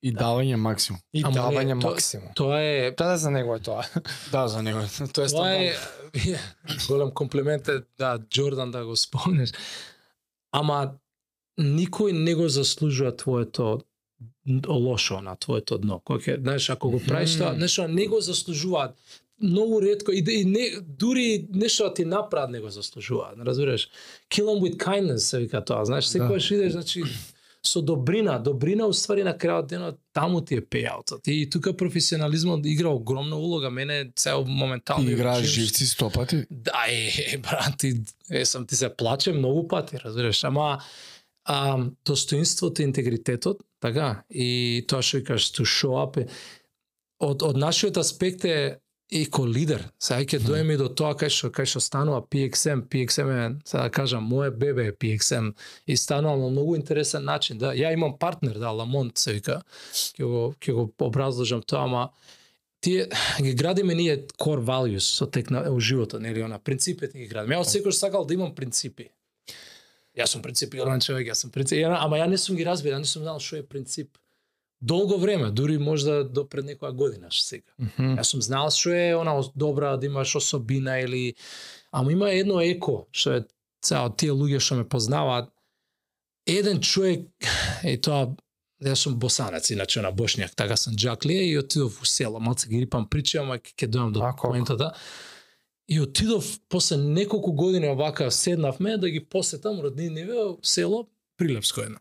Да. И давање максимум. и Ама не, давање то- максимум. Тоа е Тоа да за него е тоа. Да, за него. Тоа е тоа е стандард. голем комплимент е да Джордан да го спомнеш. Ама никој не го заслужува твоето н- лошо на твоето дно. Кој ќе, знаеш, ако го правиш тоа, Мгм. нешто не го заслужуваат. Многу ретко и, и не дури нешто да ти направат Да. не го заслужуваат. Разбираш? Kill 'em with kindness се вика тоа. Знаеш, секогаш идеш, значи со добрина. Добрина уствари на крајот денот таму ти е пејаутот. И тука професионализмот игра огромна улога. Мене цел моментално Ти играеш учиш- живци сто пати. да, е, е, брат, ти, е, сам ти се плаче многу пати, разбираш, ама а, достоинството и интегритетот, така, и тоа што викаш, to show up, е- од, од нашиот аспект е и ко лидер, сега ќе доеме до тоа кај што кај што станува PXM, PXM е, сега да кажам, мое бебе е PXM и станува на многу интересен начин, да, ја имам партнер, да, Ламонт се вика, ќе го ќе го образложам тоа, ама тие ги градиме ние core values со тек на у животот, нели она принципите ги градиме. Ја од секогаш сакал да имам принципи. Јас сум принципиран човек, јас сум принцип, ама ја не сум ги разбирал, не сум знал што е принцип. Долго време, дури можда до пред некоја година што сега. Јас сум знал што е она ос- добра да имаш особина или ама има едно еко што е цао тие луѓе што ме познаваат. Еден човек и тоа Јас сум босанец, иначе на бошњак, така сам джаклија и отидов у село, малце ги рипам причи, ама ќе ќе дојам до Ако, ако. поентата. И отидов после неколку години овака седнавме да ги посетам родниниве во село Прилепско едно.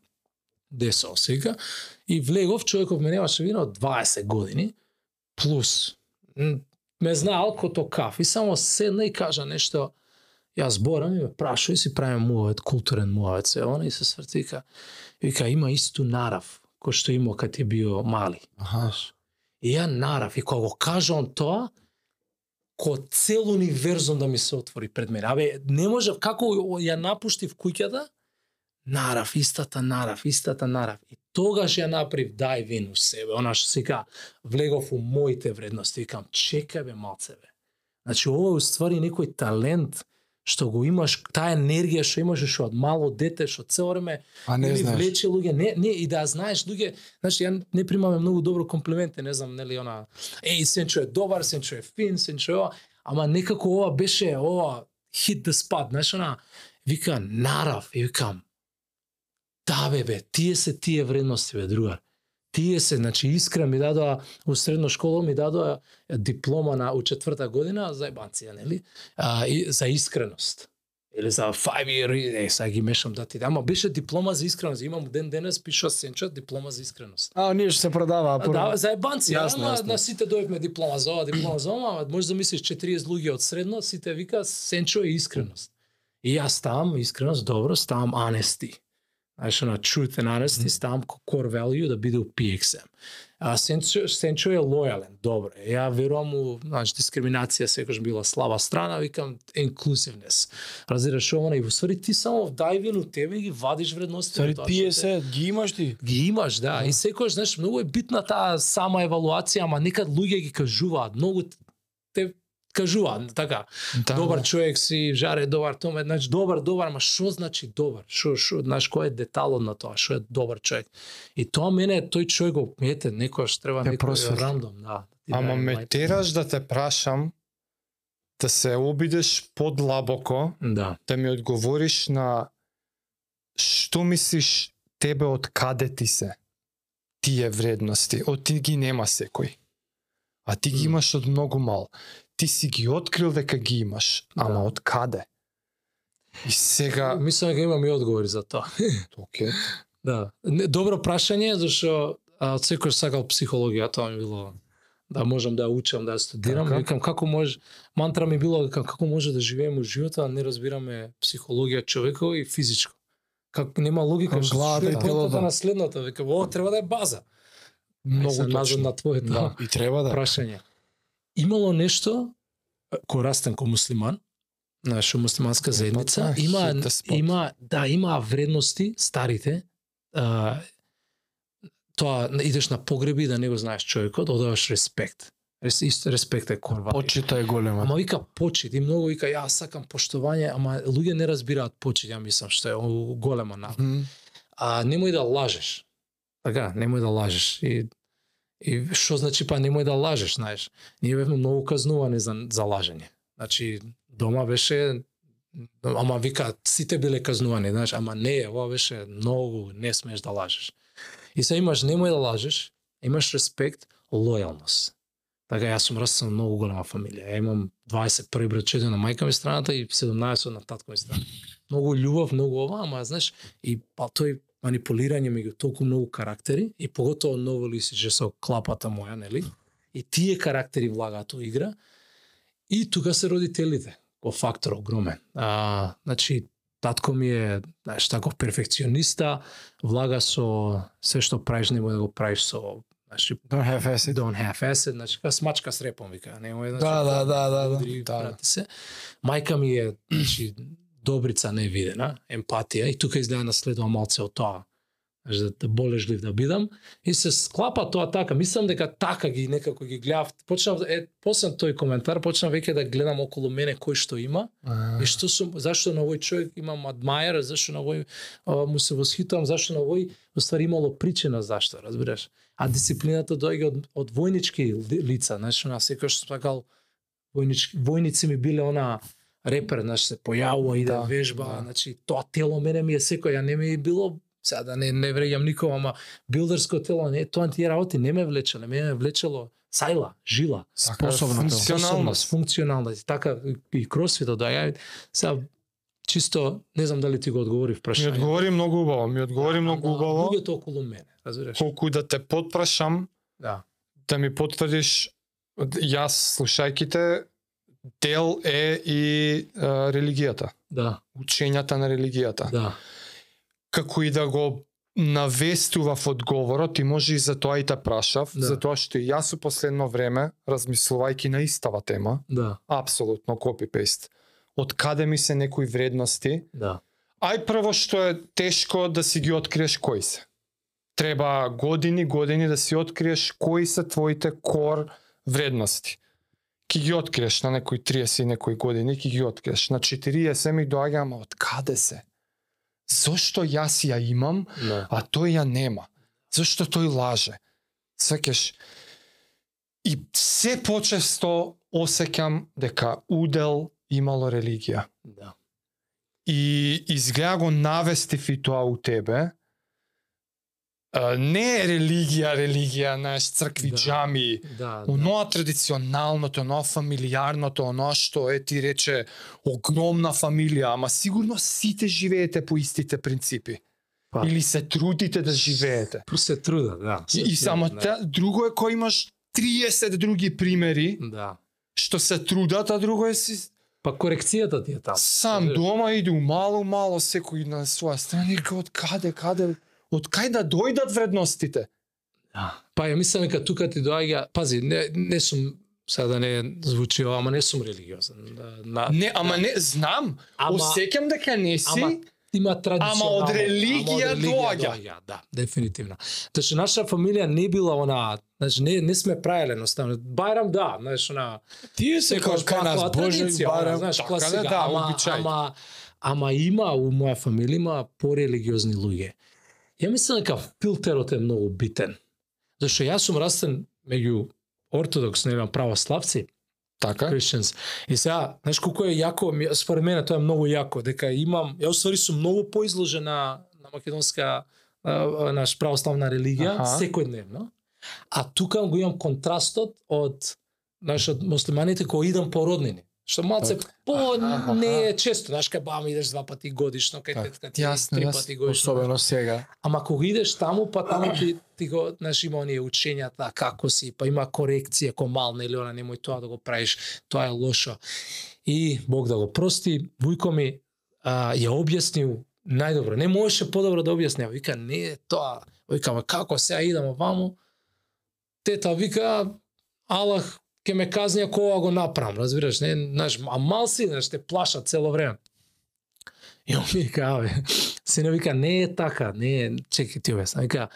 Десо сега и влегов човеков ме немаше вино од 20 години плюс М, ме знаел като каф и само седна и кажа нешто Јас зборам и ме прашува и си правиме муавет, културен муавет, се она и се свртика. И вика, има исту нарав, кој што имao кад ти био мали. Аха. И ја нарав, и кога го кажа он тоа, ко цел универзум да ми се отвори пред мене. Абе, не може, како ја напуштив куќата, нарав, истата нарав, истата нарав. И тогаш ја направив дај вин у себе, она што сега влегов у моите вредности, викам, чекај бе малце бе. Значи, ова е уствари некој талент, што го имаш, таа енергија што имаш што од мало дете, што цело време А Па не не ми знаеш. влече луѓе, не, не, и да ја знаеш луѓе, значи ја не примаме многу добро комплименти, не знам, нели она, еј, Сенчо е добар, Сенчо е фин, Сенчо е ова, ама некако ова беше, ова, hit the spot, знаеш, она, вика, нарав, и викам, да, бе, бе, тие се тие вредности, бе, другар. Тие се, значи, искра ми дадоа, у средно школа ми дадоа диплома на у четврта година за ебанција, нели? А, и, за искреност или за 5 year, е, сега ги мешам да ти дам, ама беше диплома за искреност, имам ден денес пиша Сенчо диплома за искреност. А, ние што се продава, а Да, пора. за ебанци, Јасно, ама јасно. на сите доевме диплома за ова, диплома за ова, ама може да мислиш 40 луѓе од средно, сите вика Сенчо е искреност. И јас ставам искреност, добро, ставам анести. Знаеш, на truth and honesty, ставам ко core value да биде у PXM. А Сенчо, Сенчо е лојален, добро. Ја верувам у, значи, дискриминација секогаш била слаба страна, викам inclusiveness. Разбираш ова, и во ствари ти само вдајвен у тебе и ги вадиш вредности. Стари, на тоа тие што те- се, ги имаш ти? Ги имаш, да. И секогаш, знаеш, многу е битна таа сама евалуација, ама некад луѓе ги кажуваат, многу те кажуваат, така. Да, добар човек си, жаре добар, тоа значи добар, добар, ама што значи добар? Што што знаеш кој е деталот на тоа, што е добар човек? И тоа мене тој човек го ете некојаш треба Те некој просветли. рандом, да. да ти Ама даде ме мајт. тераш да те прашам да се обидеш подлабоко, Да. да ми одговориш на што мислиш тебе од каде ти се тие вредности, од ти ги нема секој. А ти ги Мм. имаш од многу мал. Ти си ги открил дека ги имаш, ама Да. од каде? И сега, Мислам дека имам и одговори за тоа. окей, Да. Не, добро прашање, зашо а, од секој сакал психологија, тоа ми било да можам да ја учам, да ја студирам. Така. Викам, како може, мантра ми било, викам, како може да живееме у живота, а не разбираме психологија човеко и физичко. Како нема логика, Како што главата што е и поентата телото. на следното, викам, ова треба да е база. многу Се назад точно. на твоето Да, и треба да. прашање. Имало нешто ко растам ко муслиман, наша муслиманска заедница, Мотај, има hit the spot. има да има вредности старите. А, тоа идеш на погреби да не го знаеш човекот, одаваш респект. Рес, исто респект е корва. Почита е голема. Ама вика почит и многу вика ја сакам поштовање, ама луѓе не разбираат почит, ја мислам што е о, голема на Мгм. а немој да лажеш. Така, немој да лажеш. И и што значи па немој да лажеш, знаеш? Ние бевме многу казнувани за за лажење. Значи дома беше ама вика сите биле казнувани, знаеш, ама не, ова беше многу не смееш да лажеш. И се имаш немој да лажеш, имаш респект, лојалност. Така јас сум растен во многу голема фамилија. Ја имам 21 брачеди на мајка ми страната и 17 на татко ми страната. Многу љубов, многу ова, ама знаеш, и па тој манипулирање меѓу толку многу карактери и поготово ново лисиче со клапата моја, нели? И тие карактери влагаат у игра. И тука се родителите. Ко фактор огромен. А, значи, татко ми е, знаеш, таков перфекциониста, влага со све што правиш, немој да го правиш со, значи, Don't have They acid. don't have acid, значи ка смачка с репом вика, немој значи. Да, да, да, да, да. удри, Да, да. прати се. Мајка ми е значи добрица невидена, емпатија и тука изгледа наследува малце од тоа. Знаеш, да, да болежлив да бидам и се склапа тоа така. Мислам дека така ги некако ги гледав. Почнав е после тој коментар почнав веќе да гледам околу мене кој што има И што сум, зашто на овој човек имам адмајер, зашто на овој а, му се восхитувам, зашто на овој уствари имало причина зашто, разбираш? А дисциплината доаѓа од, од војнички ли- лица, знаеш, на секој што сакал војнички, војници ми биле она репер, знаеш, се појавува и да, Да, вежба, да. значи тоа тело мене ми е секој, ја не ми е било сега да не не вреѓам никого, ама билдерско тело не тоа тие работи не ме влечеле, ме ме влечело сајла, жила Така Способно. Така Функционалност. функционалност, така и кросфитот да ја сега чисто не знам дали ти го одговори Ми прашањето. одговори многу убаво, ми одговори многу Да, Ама убаво. Луѓето околу мене, разбираш? Колку и да те потпрашам, Да. да ми потврдиш јас слушајки те дел е и а, религијата, Да, учењата на религијата. да. како и да го навестував одговорот и може и за тоа и те прашав, Да. да. затоа што и јас у последно време, размислувајќи на истава тема, Да, апсолутно копипейст, од каде ми се некои вредности, да. ај прво што е тешко да си ги откриеш кои се. Треба години, години да си откриеш кои се твоите кор вредности. Ки ги откриеш на некои 30 и некои години, ки ги откриеш. На 40 ми доаѓа, ама од каде се? Зошто јас ја имам, Да. а тој ја нема. Зашто тој лаже? Сваќаш. И се почесто осеќам дека удел имало религија. Да. И изгледа го навестив и тоа у тебе. А, не е религија, религија, знаеш, цркви, Да. да. джами, Да. да. Оноа традиционалното, оноа фамилиарното, оноа што е ти рече огромна фамилија, ама сигурно сите живеете по истите принципи. Па. Па. Или се трудите да живеете. Прво се труда, да. И, Се и само трудат, та, друго е кој имаш 30 други примери да. Да. што се трудат, а друго е си Па корекцијата ти е таму. сам Разбираш? дома иду мало мало секој на своја страна и ка, од каде каде од кај да дојдат вредностите. Да. Па ја мислам дека тука ти доаѓа, пази, не не сум сега да не звучи ова, ама не сум религиозен. Да, на, Не, ама не знам, да ама, осеќам дека не си. ама има традиционално. Ама од религија доаѓа. Да, дефинитивно. Значи, наша фамилија не била она, значи, не, не сме правеле едноставно. Бајрам, да, знаеш, она... Тие се Секој кај кај нас Боже традиција, она, барем. знаеш, така класика, да, да, ама, обичај. ама, ама има у моја фамилија има порелигиозни луѓе. Ја мислам дека филтерот е многу битен. Зашто јас сум растен меѓу ортодокс, не знам, православци, Така? Christians. И сега, знаеш колку е јако, ми- според мене тоа е многу јако, дека имам, ја уствари сум многу поизложена на македонска а, а, наш православна религија Аха. секојдневно. А тука го имам контрастот од знаеш од муслиманите кои идам по роднини. Што малце по Аха, не е често, знаеш кај баба ми идеш два пати годишно, кај Так, тетка ти јасно, три јасно, пати годишно. Особено сега. Ама кога идеш таму, па таму ти, ти го, знаеш, има оние учењата, како си, па има корекција, ко мал, нели, она, немој тоа да го правиш, тоа е лошо. И, Бог да го прости, вујко ми а, ја објаснил најдобро. Не можеше подобро да објасни, а вика, не е тоа. Вика, ама како сега идам оваму? Тета вика, Аллах ќе ме казни ако ова го направам, разбираш, не, знаеш, а мал си, знаеш, те плаша цело време. И он ми вика, абе, сине вика, не е така, не е, чекај ти објаснам, вика,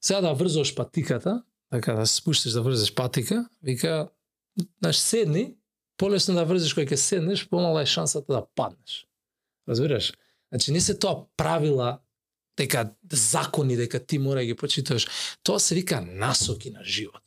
сега да врзош патиката, така да се спуштиш да врзеш патика, вика, знаеш, седни, полесно да врзеш кој ќе седнеш, помала е шансата да паднеш. Разбираш? Значи, не се тоа правила, дека закони, дека ти мора да ги почиташ. Тоа се вика насоки на живот.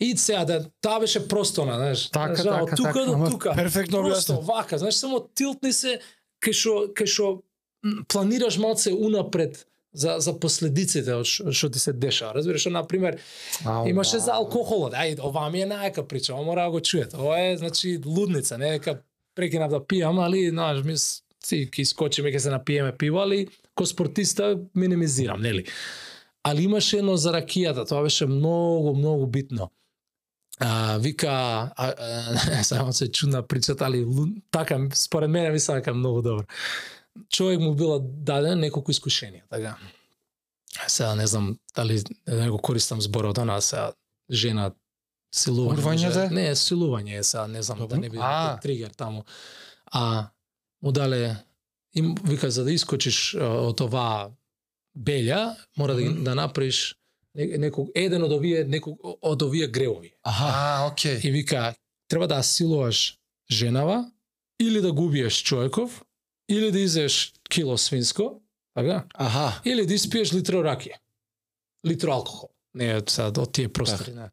И сега да, таа беше просто, она, знаеш, Така, знаеш, она, така, од тука така, до Ама тука. перфектно Просто објаснет. вака, знаеш, само тилтни се кај што кај што м, планираш малце унапред за за последиците од што што ти се дешава. Разбираш, на пример, Ау, имаше за да. алкохолот. Ај, ова ми е најака прича, ова мора да го чуете. Ова е значи лудница, не дека прекинав да пијам, али знаеш, ми с- си ќе скочиме ќе се напиеме пиво, али ко спортиста минимизирам, нели? Али имаше едно за ракијата, тоа беше многу, многу битно. А, вика, а, а, само се чудна причата, али лу- така, според мене мислам дека е многу добро. Човек му било даден неколку искушенија, така. Сега не знам дали да го користам зборот, она сега жена силување. Урвање може- да е? Не, силување е сега, не знам, да Добро. не биде А. тригер таму. А му дале им вика за да искочиш а, од ова белја, мора да, ги- да направиш не- некој еден од овие некој од овие греови. Аха. А, окей. И вика треба да силуваш женава или да губиеш човеков или да изеш кило свинско, така? Аха. Или да испиеш литро ракија. Литро алкохол. Не, од сад, од тие простори, не.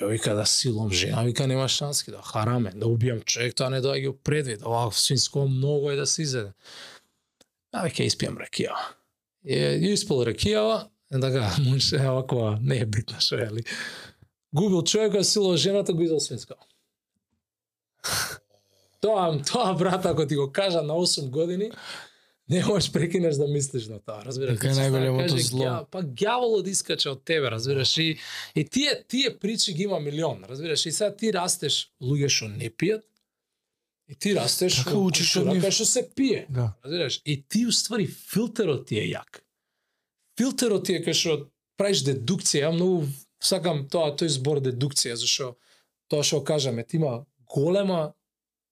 Ја вика да силом жена, вика нема шански да хараме, да убијам човек, тоа не доаѓа у предвид, ова свинско многу е да се изеде. А веќе испијам ракија. Е, ја испил ракија, така, муж, е, оваква, не е битно што е, али. Губил човека, сило жената, го изел свинско. Тоа, тоа, брат, ако ти го кажа на 8 години, не можеш прекинеш да мислиш на тоа, разбираш. Значи, Дека е најголемото Каже, зло. «Ѓа- Па ѓаволот искача од тебе, разбираш, и, и тие, тие причи ги има милион, разбираш, и сега ти растеш луѓе што не пијат, и ти растеш Така учиш од култура нив. која што се пие. Да. Разбираш? И ти уствари филтерот ти е јак. Филтерот ти е кај што правиш дедукција, ја многу сакам тоа тој збор дедукција, зашо тоа што кажаме, ти има голема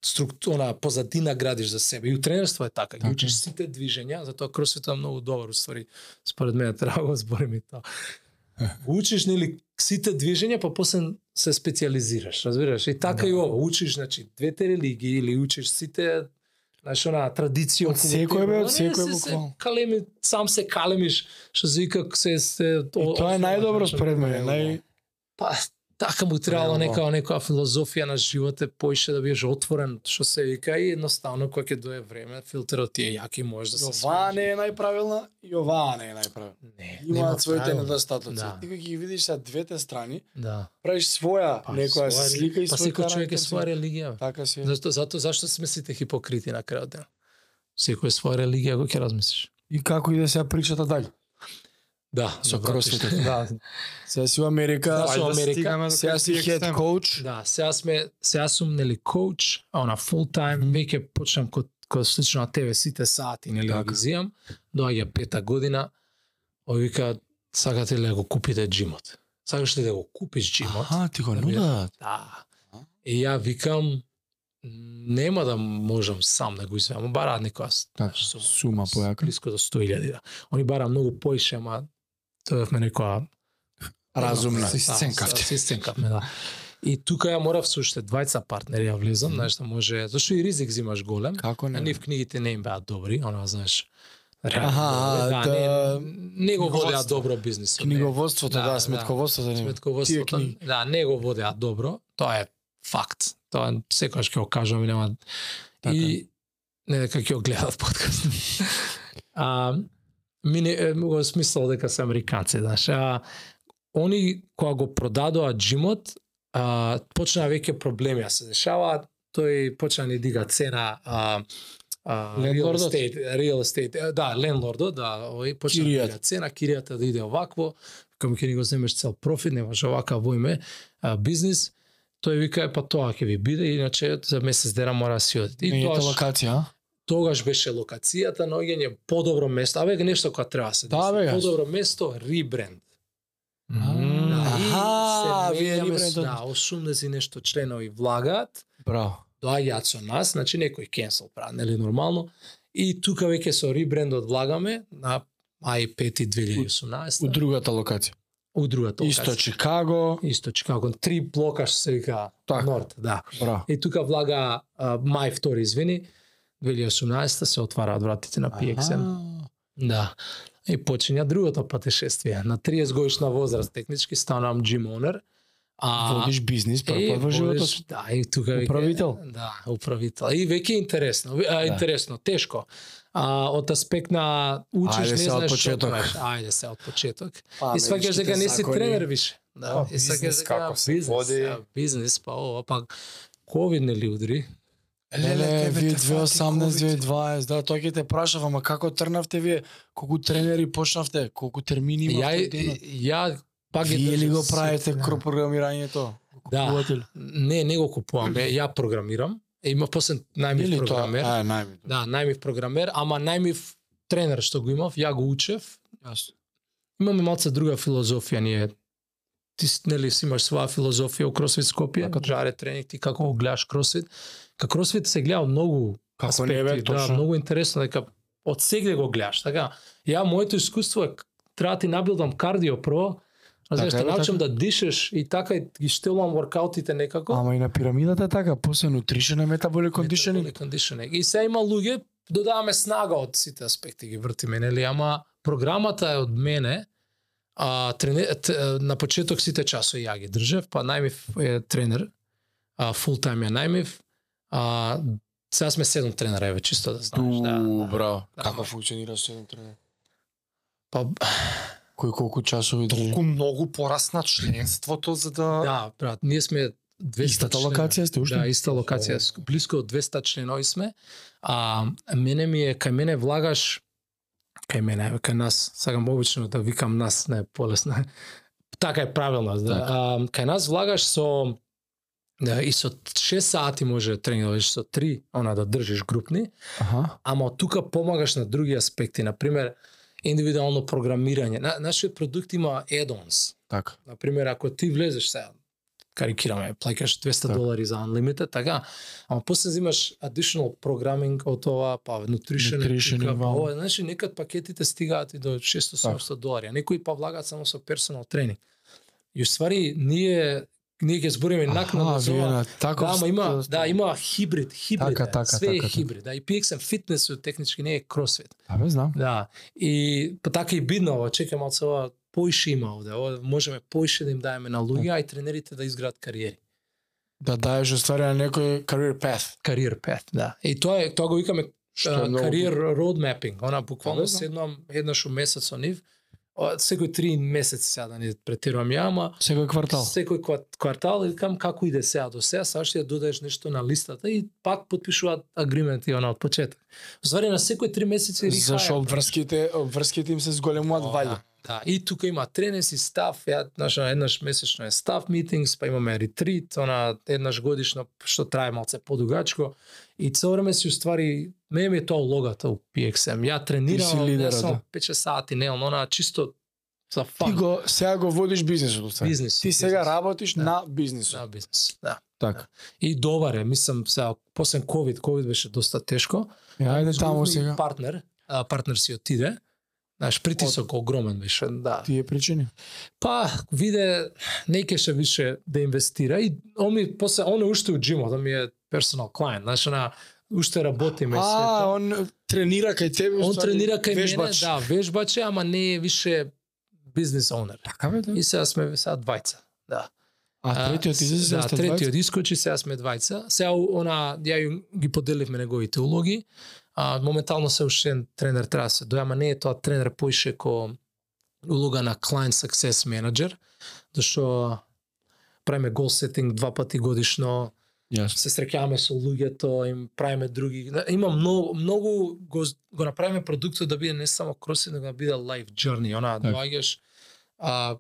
структура, позадина градиш за себе. И у тренерство е така, ги Така е. учиш сите движења, затоа кросфит е многу добар, уствари, според мене треба да го збориме и тоа. Учиш нели сите движења, па после се специализираш, разбираш? И така и Да. ова, учиш значи двете религии или учиш сите Знаеш, она традиција Од секој, бе, од тебе, не, секој, се- се буквално. Калеми, сам се калемиш, што се вика се се Значи, И тоа е најдобро според мене, нај па така му требало Преубаво. нека некоја филозофија на живот е поише да бидеш отворен, што се вика и едноставно кога ќе дое време филтерот ти е јак и можеш да се оваа сложиш. не е најправилна и оваа не е најправилна. не нема Имаат своите правило. недостатоци. Да. Ти кога ги видиш са двете страни, Да. правиш своја некоја своја слика и религија. Па свој секој човек е карактер. своја религија. бе. Така си. е. Зашто зато зашто сме сите хипокрити на крајот ден. Секој е своја религија кој ќе размислиш. И како иде сега причата дале? Да, Со добро, ти кросфитот. што- Да. Сега си у Америка, Знаеш, Ајде во да Америка, стигнеме до сега кај си тие хед екстремни. коуч. Да, сега сме, сега сум нели коуч, а она full time, веќе почнам код код слично на тебе сите сати, нели да Така. ги зијам. Доаѓа пета година, ој вика сакате ли да го купите џимот? Сакаш ли да го купиш џимот? ти го Да биде. Да. И ја викам нема да можам сам да го извеам, бара некоја с- Така, сума, сума појака. близко до 100.000, да. Они бара многу поише, ама тоевме некоја Разумна. Си сценкавте. да, Си сценкавме, да. И тука ја морав со уште двајца партнери ја влезам, знаеш, што може, зашто и ризик зимаш голем. Како На не? нив книгите не им беа добри, она, знаеш. реално Аха, добри. да, не, не го водеа добро бизнисот. не. Книговодството, Да, да, да. сметководството не. Тие Сметководството, книги. да, не го водеа добро, тоа е факт. Тоа секогаш ќе го кажам и нема Така. и не дека ќе го гледав подкаст. а мине е, го смислав дека се американци, знаеш. А, они кога го продадоа џимот, а, почнаа веќе проблеми да се дешаваат, тој почна ни дига цена а, а, real Лендлордот? estate, real estate, е, да, лендлордот, да, овој почна да Киријата. дига цена, киријата да иде овакво, кога ќе ни го земеш цел профит, немаш овака војме а, бизнис, тој вика е па тоа ќе ви биде, иначе за месец дена мора да си оди. И Менјата тоа локација, а? тогаш беше локацијата на оѓање подобро место. Абе нешто кога треба да се Да, бе, јас. подобро место, ребренд. М, Да, и аха, се вие менјаме ребрендот. с- Да, 80 и нешто членови влагаат, Браво. доаѓаат со нас, значи некој кенсел прави, нели нормално. И тука веќе со ребрендот влагаме на мај 5 2018 У другата локација. у другата Исто локација. Чикаго, Исто Чикаго, три блока што се вика Така. Норт, да. браво. И тука влага а, мај втори, извини, 2018 се отвараат вратите на PXM. Аха. Да. И почиња другото патешествие. На 30 годишна возраст технички станам gym owner. А Водиш бизнис, прв е, пат во животот. водиш- Да, и тука веќе- Управител? Да. Да, управител. И веќе е интересно, а, интересно, тешко. А од аспект на учиш Ајде не се од знаеш што почеток. правиш. Ајде се од почеток. Па, И сваќаш дека не си закони. тренер више. Да, Па, и сваќаш бизнес дека да, како се бизнес, води. а, бизнес, па ова, па ковид нели удри. Леле, тебе вие те фати 2018, ковид. 2020, да, тоа ќе те прашав, ама како тргнавте вие? Колку тренери почнавте? Колку термини Ја, имавте? дено? ја пак ги Вие ли држам го се- правите да. кропрограмирањето? Да. Купувате ли? Не, не го купувам. Е, Ја програмирам. Е, Има после Или најмив тоа? програмер. Ај, најми. Да, најмив програмер, ама најмив тренер што го имав, ја го учев. Јасно. Имаме малце друга филозофија ние. Ти с- нели си имаш своја филозофија у Кросфит Скопје, Така, да. како жаре тренинг, ти како го гледаш Кросфит. Ка Кросфит се гледа од многу Како не аспекти, бе, да, точно. многу интересно дека од сегде го гледаш, така. Ја моето искуство е к- треба да ти набилдам кардио прво, Знаеш, Така е, да бе, научам да дишеш и така и ги штелувам воркаутите некако. Ама и на пирамидата е така, после нутришен е метаболик кондишенинг. Metabolic conditioning. И сега има луѓе, додаваме снага од сите аспекти ги вртиме, нели, ама програмата е од мене. А трене, т, на почеток сите часови ја ги држев, па најмив е тренер, а фул тајм ја најмив. А сега сме седум тренера еве чисто да знаеш, да. Ту, браво. Така. Да, Како може. функционира седом тренер? Па Кој колку часови држи? Толку многу порасна членството за да... да, брат, ние сме 200 Истата члена. локација сте Да, уште? иста локација, ск- близко од 200 членови сме. А мене ми е кај мене влагаш кај мене, еве, кај нас, сакам обично да викам нас, не полесно. така е правилно, да. Така. А, кај нас влагаш со да, и со 6 сати може тренинг, да бидеш, со 3, она да држиш групни, Аха. ама од тука помагаш на други аспекти, на пример индивидуално програмирање. На, нашиот продукт има add-ons. Така. Например, ако ти влезеш сега, карикираме, плаќаш 200 Така. долари за Unlimited, така, ама после взимаш additional programming од ова, па nutrition, Nutrition, тука, па имам. Така. ова, значи некад пакетите стигаат и до 600-700 долари, а некои па влагаат само со персонал тренинг. И уствари ние ние ќе збориме Аха, накнадно за вие ова. на така таков... Да, ама има, ст- да, има хибрид, хибрид. Така, е, така, све така, е така. хибрид. Да, и PXM фитнес технички не е кросфит. Абе, знам. Да. И па така и бидно ова, чекам малце ова поише има овде. Ова можеме поише да им даеме на луѓе, а и тренерите да изградат кариери. Да даеш уствари на некој career path. Кариер пет, да. И тоа е тоа го викаме е а, многу кариер road mapping. Она буквално Да, да. седнам еднаш у месец со нив. а, Секој три месеци сега да не претерувам ја, ама Секој квартал. секој квар- квартал и викам како иде сега до сега, сега ќе додадеш нешто на листата и пак потпишуваат агримент и она од почеток. Звари на секој три месеци Зашо рихајат. обврските, обврските им се зголемуваат О, вајде. Да, и тука има тренинг и став, ја знаеш, она, еднаш месечно е став митингс, па имаме ретрит, она еднаш годишно што трае малце подугачко и цело време си уствари ме ми е тоа улогата у PXM. Ја тренирам, Ти си ама лидерот, не само да. 5 сати, не, ама она чисто за Ти фан. го сега го водиш бизнисот уствари. Бизнис, Ти сега бизнис. работиш Да. на бизнисот. на бизнес. Да. Така. И добар е, мислам, сега, после COVID, COVID беше доста тешко. Е, ајде таму Згубни сега. Партнер, а, партнер си отиде. Знаеш, притисок огромен беше, да. Ти е причини. Па, виде, не кеше више да инвестира и он ми после он е уште у джимот, он ми е персонал клиент, значи на уште работиме и све А, тоа. он тренира кај тебе. Он уствари, тренира кај вежбач. мене, да, вежбаче, ама не е више бизнес оунер. Така бе, да. И сега сме сега двајца. Да. А третиот излезе да, сега сте двајца? третиот искочи, сега сме двајца. Сега у- она ја ју- ги поделивме неговите улоги. А моментално се уште еден тренер треба да се доја, ама не е тоа тренер поише ко улога на client success manager, зашто правиме goal setting два пати годишно, Јас. се среќаваме со луѓето, им правиме други. Има многу многу го, го направиме продуктот да биде не само кросфит, него да биде life journey. Она Так. доаѓаш а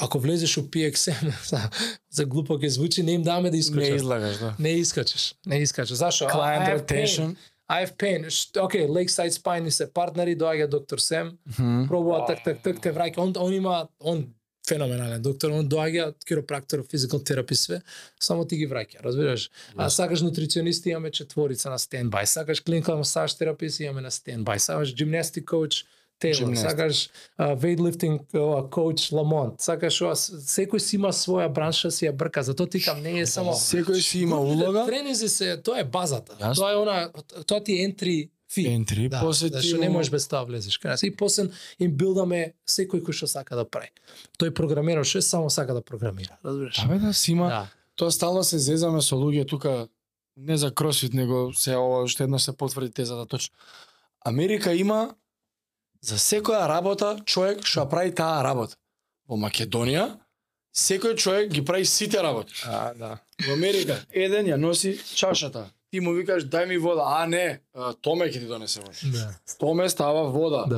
ако влезеш у PXM, за, за глупо ќе звучи, не им даме да Не искачаш. излагаш, да. Не искачаш, не искачаш. Зашо? I- I Client have pain. retention. I have pain. Ш- Океј, Lakeside Spine се партнери, доаѓа доктор Сем, Мгм. пробува так так так те враќа. Он он има он феноменален доктор, он доаѓа киропрактор, физикал терапи све, само ти ги враќа, разбираш? А сакаш нутриционисти имаме четворица на стендбај, сакаш клиничен масаж терапист имаме на стендбај, сакаш гимнастик коуч Тейлор, Gymnast. сакаш вейтлифтинг коуч Ламонт, сакаш ова, с- секој си има своја бранша, си ја брка, затоа ти кам не е само Секој си има улога. Тренинзи се, тоа е базата. Јасно. Тоа е она, тоа ти е entry fee. Ентри, Да, после ти зашто му- не можеш без тоа да влезеш кај нас. И после им билдаме секој кој што сака да прави. Тој програмираше, само сака да програмира, разбираш? Абе да си има. Да. Тоа стално се зезаме со луѓе тука не за кросфит, него се ова уште едно се потврди тезата точно. Америка има за секоја работа човек што ја прави таа работа. Во Македонија секој човек ги прави сите работи. А, да. Во Америка еден ја носи чашата. Ти ти му викаш дај ми вода, а не, а, Томе ќе ти донесе вода. Да, Томе става вода. Да.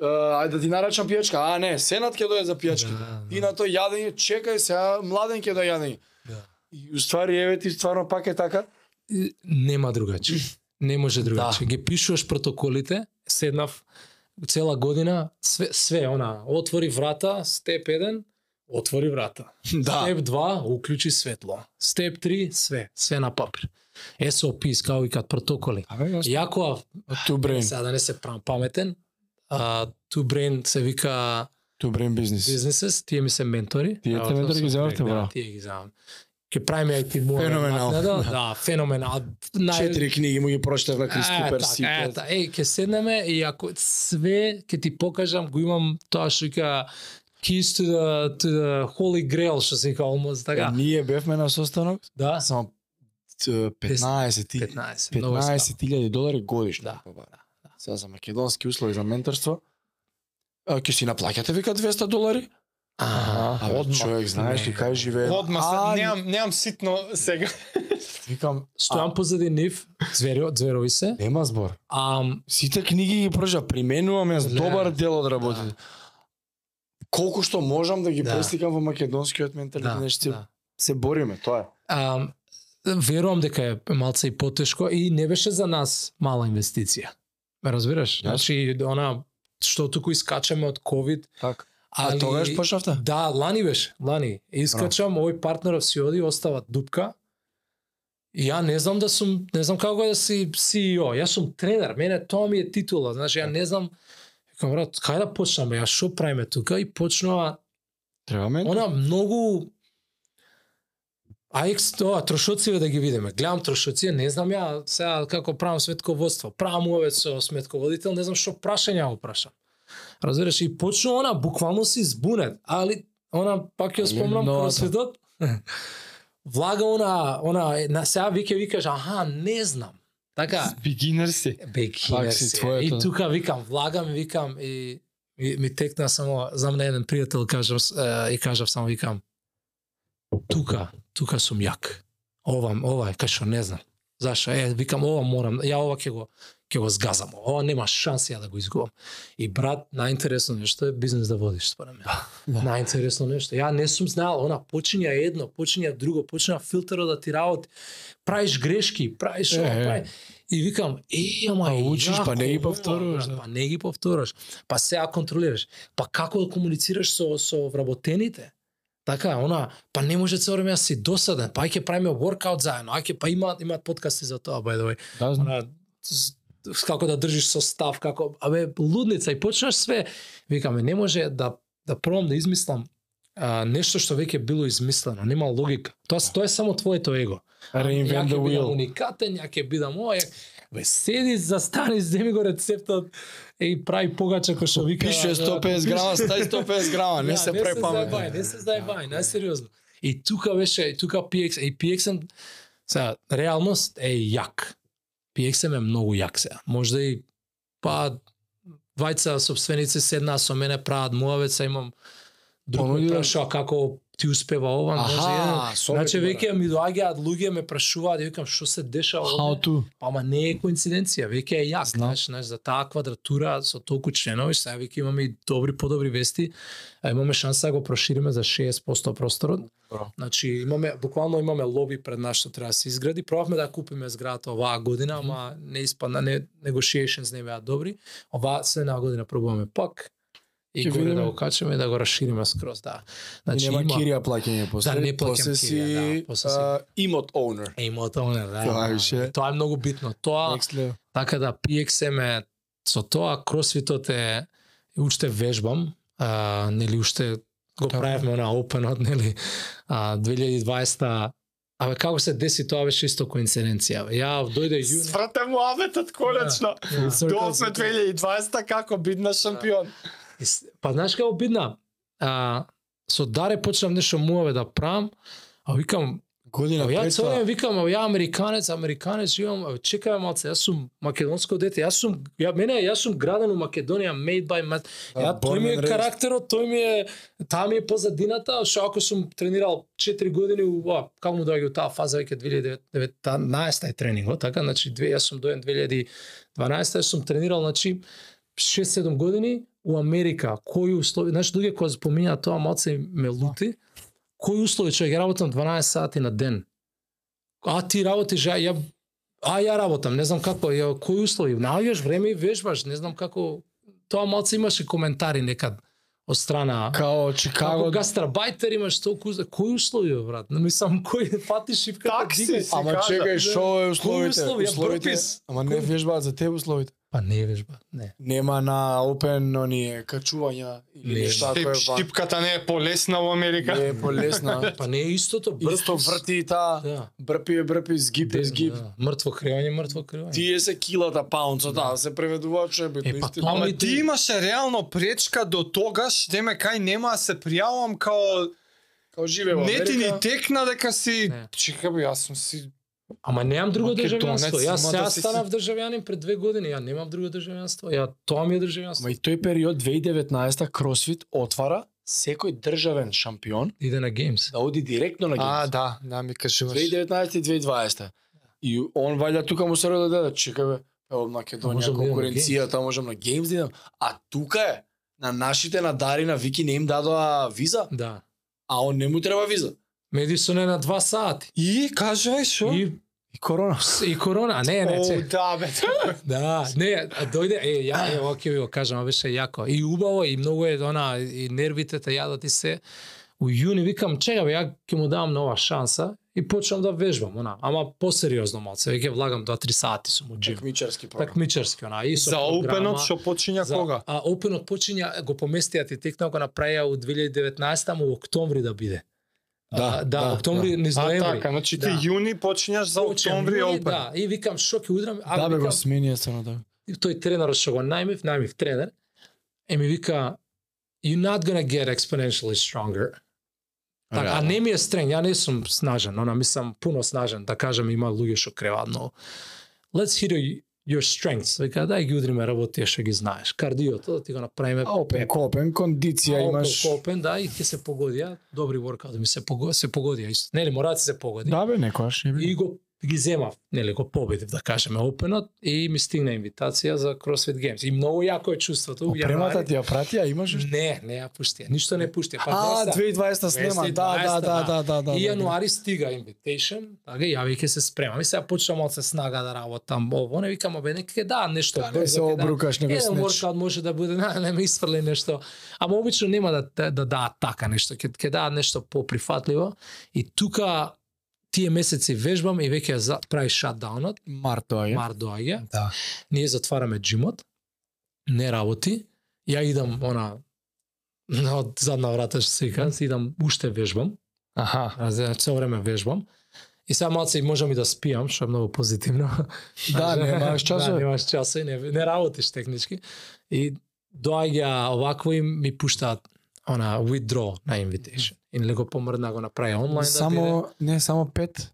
да. Ајде да ти нарачам пијачка, а не, Сенат ќе дојде за пијачка. Да, Ти да. на тој јадење, чекај се, младен ќе дојде јадење. Да. И у ствари еве ти стварно пак е така. И Нема другаче. Не може другаче. Ги пишуваш протоколите, седнав цела година, све, све она, отвори врата, степ 1, отвори врата. Да. Степ 2, уклучи светло. Степ 3, све, све на папир. SOPs, како и кад протоколи. Абе, јас- Јако, Ту брен, сега да не се прам паметен, а, ту брен се вика ту брен бизнес. бизнесес, тие ми се ментори. Тие Evo, те тоа ментори сум ги земавте, човек, браво. Да, тие ги земам. Ке правиме IT моја Феноменално. Да, да, феноменал. Четири книги му ги прочитав на Крис Е, Купер така, си. е, така. Еј, ќе седнеме и ако све ќе ти покажам, го имам тоа што вика Keys to the, to the Holy Grail, што се вика almost така. Ние бевме на состанок, Да, само т- 15 ти- 15. много е 15.000 долари годишно. Да, побара. Сега за македонски услови за менторство, а, ќе си наплаќате вика 200 долари? А, А, Одма. Одма. човек, знаеш ли кај живее? Одма А, се, немам, немам ситно сега. Викам, Стојам позади нив, зверо, зверови се. нема збор. А, Сите книги ги пржа, применувам јас Да. добар дел од работите. Колку што можам да ги Да. пресликам во македонскиот да, менталитет, нешто да. се бориме, тоа е. А, верувам дека е малце и потешко и не беше за нас мала инвестиција. Ме разбираш? Јас- Значи, она, што туку искачаме од COVID, Така. али... А тогаш почнавте? Да, лани беше, лани. Искачам, овој партнеров си оди, остава дупка. И Ја не знам да сум, не знам како е да си CEO, јас сум тренер, мене тоа ми е титула, значи ја не знам, Викам, брат, кај да почнаме, ја шо правиме тука? И почнува Треба мен? Она многу Ајкс тоа трошоциве да ги видиме. Гледам трошоци, не знам ја сега како правам сметководство. Правам овец со сметководител, не знам што прашања го прашам. Разбираш, и почна она буквално се избунет, али она пак ја Али спомнам многу- просветот. Влага она, она на сега вике викаш, аха, не знам. Така, Бигинер си. бекинер Пак си си. твоето. И тука викам, влагам, викам и ми, ми текна само за мене еден пријател кажав с- е, и кажав само викам тука, тука сум јак. Ова, ова е, кашо не знам. Зашо? Е, викам ова морам, ја ова ќе го ќе го згазам. Ова нема шанси ја да го изгубам. И брат, најинтересно нешто е бизнес да водиш според мене. Да. Најинтересно нешто. Ја не сум знаел, она почиња едно, почиња друго, почиња филтерот да ти работи. Правиш грешки, правиш ова, Е, е. прави. И викам, е, ама Па е учиш, па не ги јако ова, повторуваш, брат, да. Па не ги повторуваш. Па сега контролираш. Па како да комуницираш со со вработените? Така, она, па не може цело време да си досаден, па ај ќе правиме workout заедно, ај ќе, па имаат, имаат подкасти за тоа, by the way. Да, знам. Она, с- с- како да држиш состав, како, абе, лудница, и почнаш све, викаме, не може да, да пробам да измислам а, нешто што веќе било измислено, нема логика. Тоа, с- тоа е само твоето его. Reinvent the ќе бидам wheel. уникатен, ја ќе бидам ова, ја... Бе, седи, застани, земи го рецептот и прави погача кој што вика... Пише 150 грама, стај 150 грама, не Да, се прави памет. Не се заебај, не се заебај, најсериозно. И тука беше, и тука PX, и PXM, сега, реалност е јак. PXM е многу јак сега. Можда и, па, двајца собственици седнаа со мене, прават муавеца, имам друг ме Понудила- прашува како ти успева ова, може еден. Аха, со да. Значи, веќе ми доаѓаат луѓе, ме прашуваат, ја викам, што се дешава How овде? to? Па ама не е коинциденција, веќе е јак, Знам. знаеш, знаеш, за таа квадратура со толку членови, сега веќе имаме и добри подобри вести, а имаме шанса да го прошириме за 60% просторот. Браво. Значи имаме буквално имаме лоби пред нас што треба да се изгради. Пробавме да ја купиме зградата оваа година, ама не испадна, не negotiations не беа добри. Ова следна година пробуваме пак и Ќе горе да видиме. го качиме и да го расшириме скроз, да. Значи, Значи нема има кирија плаќање после. Да, не плаќам после си, кирија, да, после си. а, имот owner. Е, има тоа, не, да. Тоа е да. више. Тоа е многу битно. Тоа Next level. Така да PXM е со тоа кросфитот е уште вежбам, а, нели уште го Така. правевме на опенот, нели а, 2020 Абе, како се деси тоа беше исто коинциденција. бе. Ја дојде јуни. Сврте му аветот конечно. ја, Доосме 2020 како Да. бидна шампион. и с- Па знаеш како бидна? А, со Даре почнам нешто муаве да правам, а викам, Godina Evo, ja peta, cijelo vrijeme vikam, evo, ja Amerikanec, Amerikanec, imam, evo, čekaj malce, ja sam makedonsko dete, ja sam, ja, mene, ja sam gradan u Makedonija, made by, ma, Da, ja, to born mi je and raised. karaktero, to mi je, ta mi je pozadinata, što ako sam treniral četiri godine, u, a, kako mu dođe u ta faza, veke 2019 je trening, o, така, znači, dve, ja sam dojen 2012, ja sam treniral, znači, 6-7 значи, години у Америка, кои услови, знаеш, луѓе кои споминаа тоа малце ме лути, кои услови човек, ја работам 12 сати на ден. А ти работиш, а ја а ја работам, не знам како, ја, кои услови, наоѓаш време и вежбаш, не знам како, тоа малце имаше коментари некад од страна Kao Како Chicago, гастарбајтер имаш толку за кои услови бе, брат? Не мислам кој фати шивката Такси дигај. си. ама кажа, čekaj, не. шо е условите? услови, ја условите пропис. ама не Кој- вежбаат за тебе условите. Па не вежба, не. Нема на open оние качувања или Не. нешта Штип, кое ван. штипката не е полесна во Америка. Не е полесна. Па не е истото, Исто брпис. врти и таа, Да. брпи е брпи, згиб е згиб. Да, Мртво креање, мртво креање. 30 килата паунца, да, се преведува че битно Е, па истина. тоа Ама Ами ти ти- имаше реално пречка до тогаш, деме кај нема да се пријавам као Као живе во не ти ни Америка. текна дека си Не. чека бе, јас сум си Ама немам друго Македонец, државјанство. Јас ама сега да си си- станав државјанин пред две години, ја немам друго државјанство. Ја тоа ми е Ама државјанство. и тој период 2019 Кросфит отвара секој државен шампион Иде на Games. да оди директно на А, Геймс. да, да ми кажуваш. 2019 и 2020. И он вајда тука му се рода да чека бе, ево Македонија Можам да идам на конкуренцијата, можам на Games да идам. А тука е на нашите на Дари на Вики не им дадоа виза, Да. а он не му треба виза. Медисон е на два сати. И кажувај шо? И, И корона. и корона, а не, не, О, че. да, бе. Да, не, а дојде, е, ја, е, оке ви го кажам, а беше јако. И убаво, и многу е, она, и нервите те јадат и се. У јуни викам, чека бе, ја ќе му давам нова шанса и почнам да вежбам, она, ама посериозно малце, веќе влагам 2-3 сати сум у джим. Мичарски програм. Такмичарски, она, и со За програма. опенот што почиња За- кога? А Openот почиња, го поместија ти текна, го направија у 2019 му во октомври да биде. Да, а, да, октомври, низ А ноември. така, значи ти Да. јуни почињаш за Почнам октомври јуни, опен. Да, и викам што ќе удрам, а Да бе викам, го сменија се на да. и тој тренер што го најмив, најмив тренер, е ми вика you're not gonna get exponentially stronger. Так, а не ми е стрен, ја не сум снажен, она ми сам пуно снажен, да кажам има луѓе што креваат но let's hit your- your strengths. Вика, дај ги удриме работи што ги знаеш. Кардиото да ти го направиме Опен, копен, кондиција Малко имаш. Копен, да, и ќе се погодија, добри воркаут ми се погодија, се погодија исто. Нели мора да се погоди. Да бе, некојаш не И го ги земав, нели го победив да кажеме опенот и ми стигна инвитација за CrossFit Games. И многу јако е чувството. у Премата јануари. да ти ја прати, а имаш уште? Не, не ја пуштија. Ништо не пуштија. Па А, доста. 2020 снема, да, да, 2020, да, да, да, да. И да. јануари стига invitation, така ја веќе се спремам. И сега почнам малце снага да работам. Ово не викам, абе некаке да, нешто Да не брзо се ќе да- обрукаш, него Еден снеч. воркаут може да биде, на, не ме исфрли нешто. Ама обично нема да те- да даат така нешто, ќе ќе даат нешто поприфатливо. И тука тие месеци вежбам и веќе за- прави шатдаунот, Март тоа е. мар доаѓа. Да. Ние затвараме джимот. Не работи. Ја идам она на од задна врата што се вика, си идам уште вежбам. Аха. Раз цело време вежбам. И сега малце и можам и да спијам, што е многу позитивно. Да, немаш Да, часове. немаш часови, не, не работиш технички. И доаѓа овакво и ми пуштаат она withdraw на invitation. Или го помрдна го направи онлайн да биде. Само, не, само пет.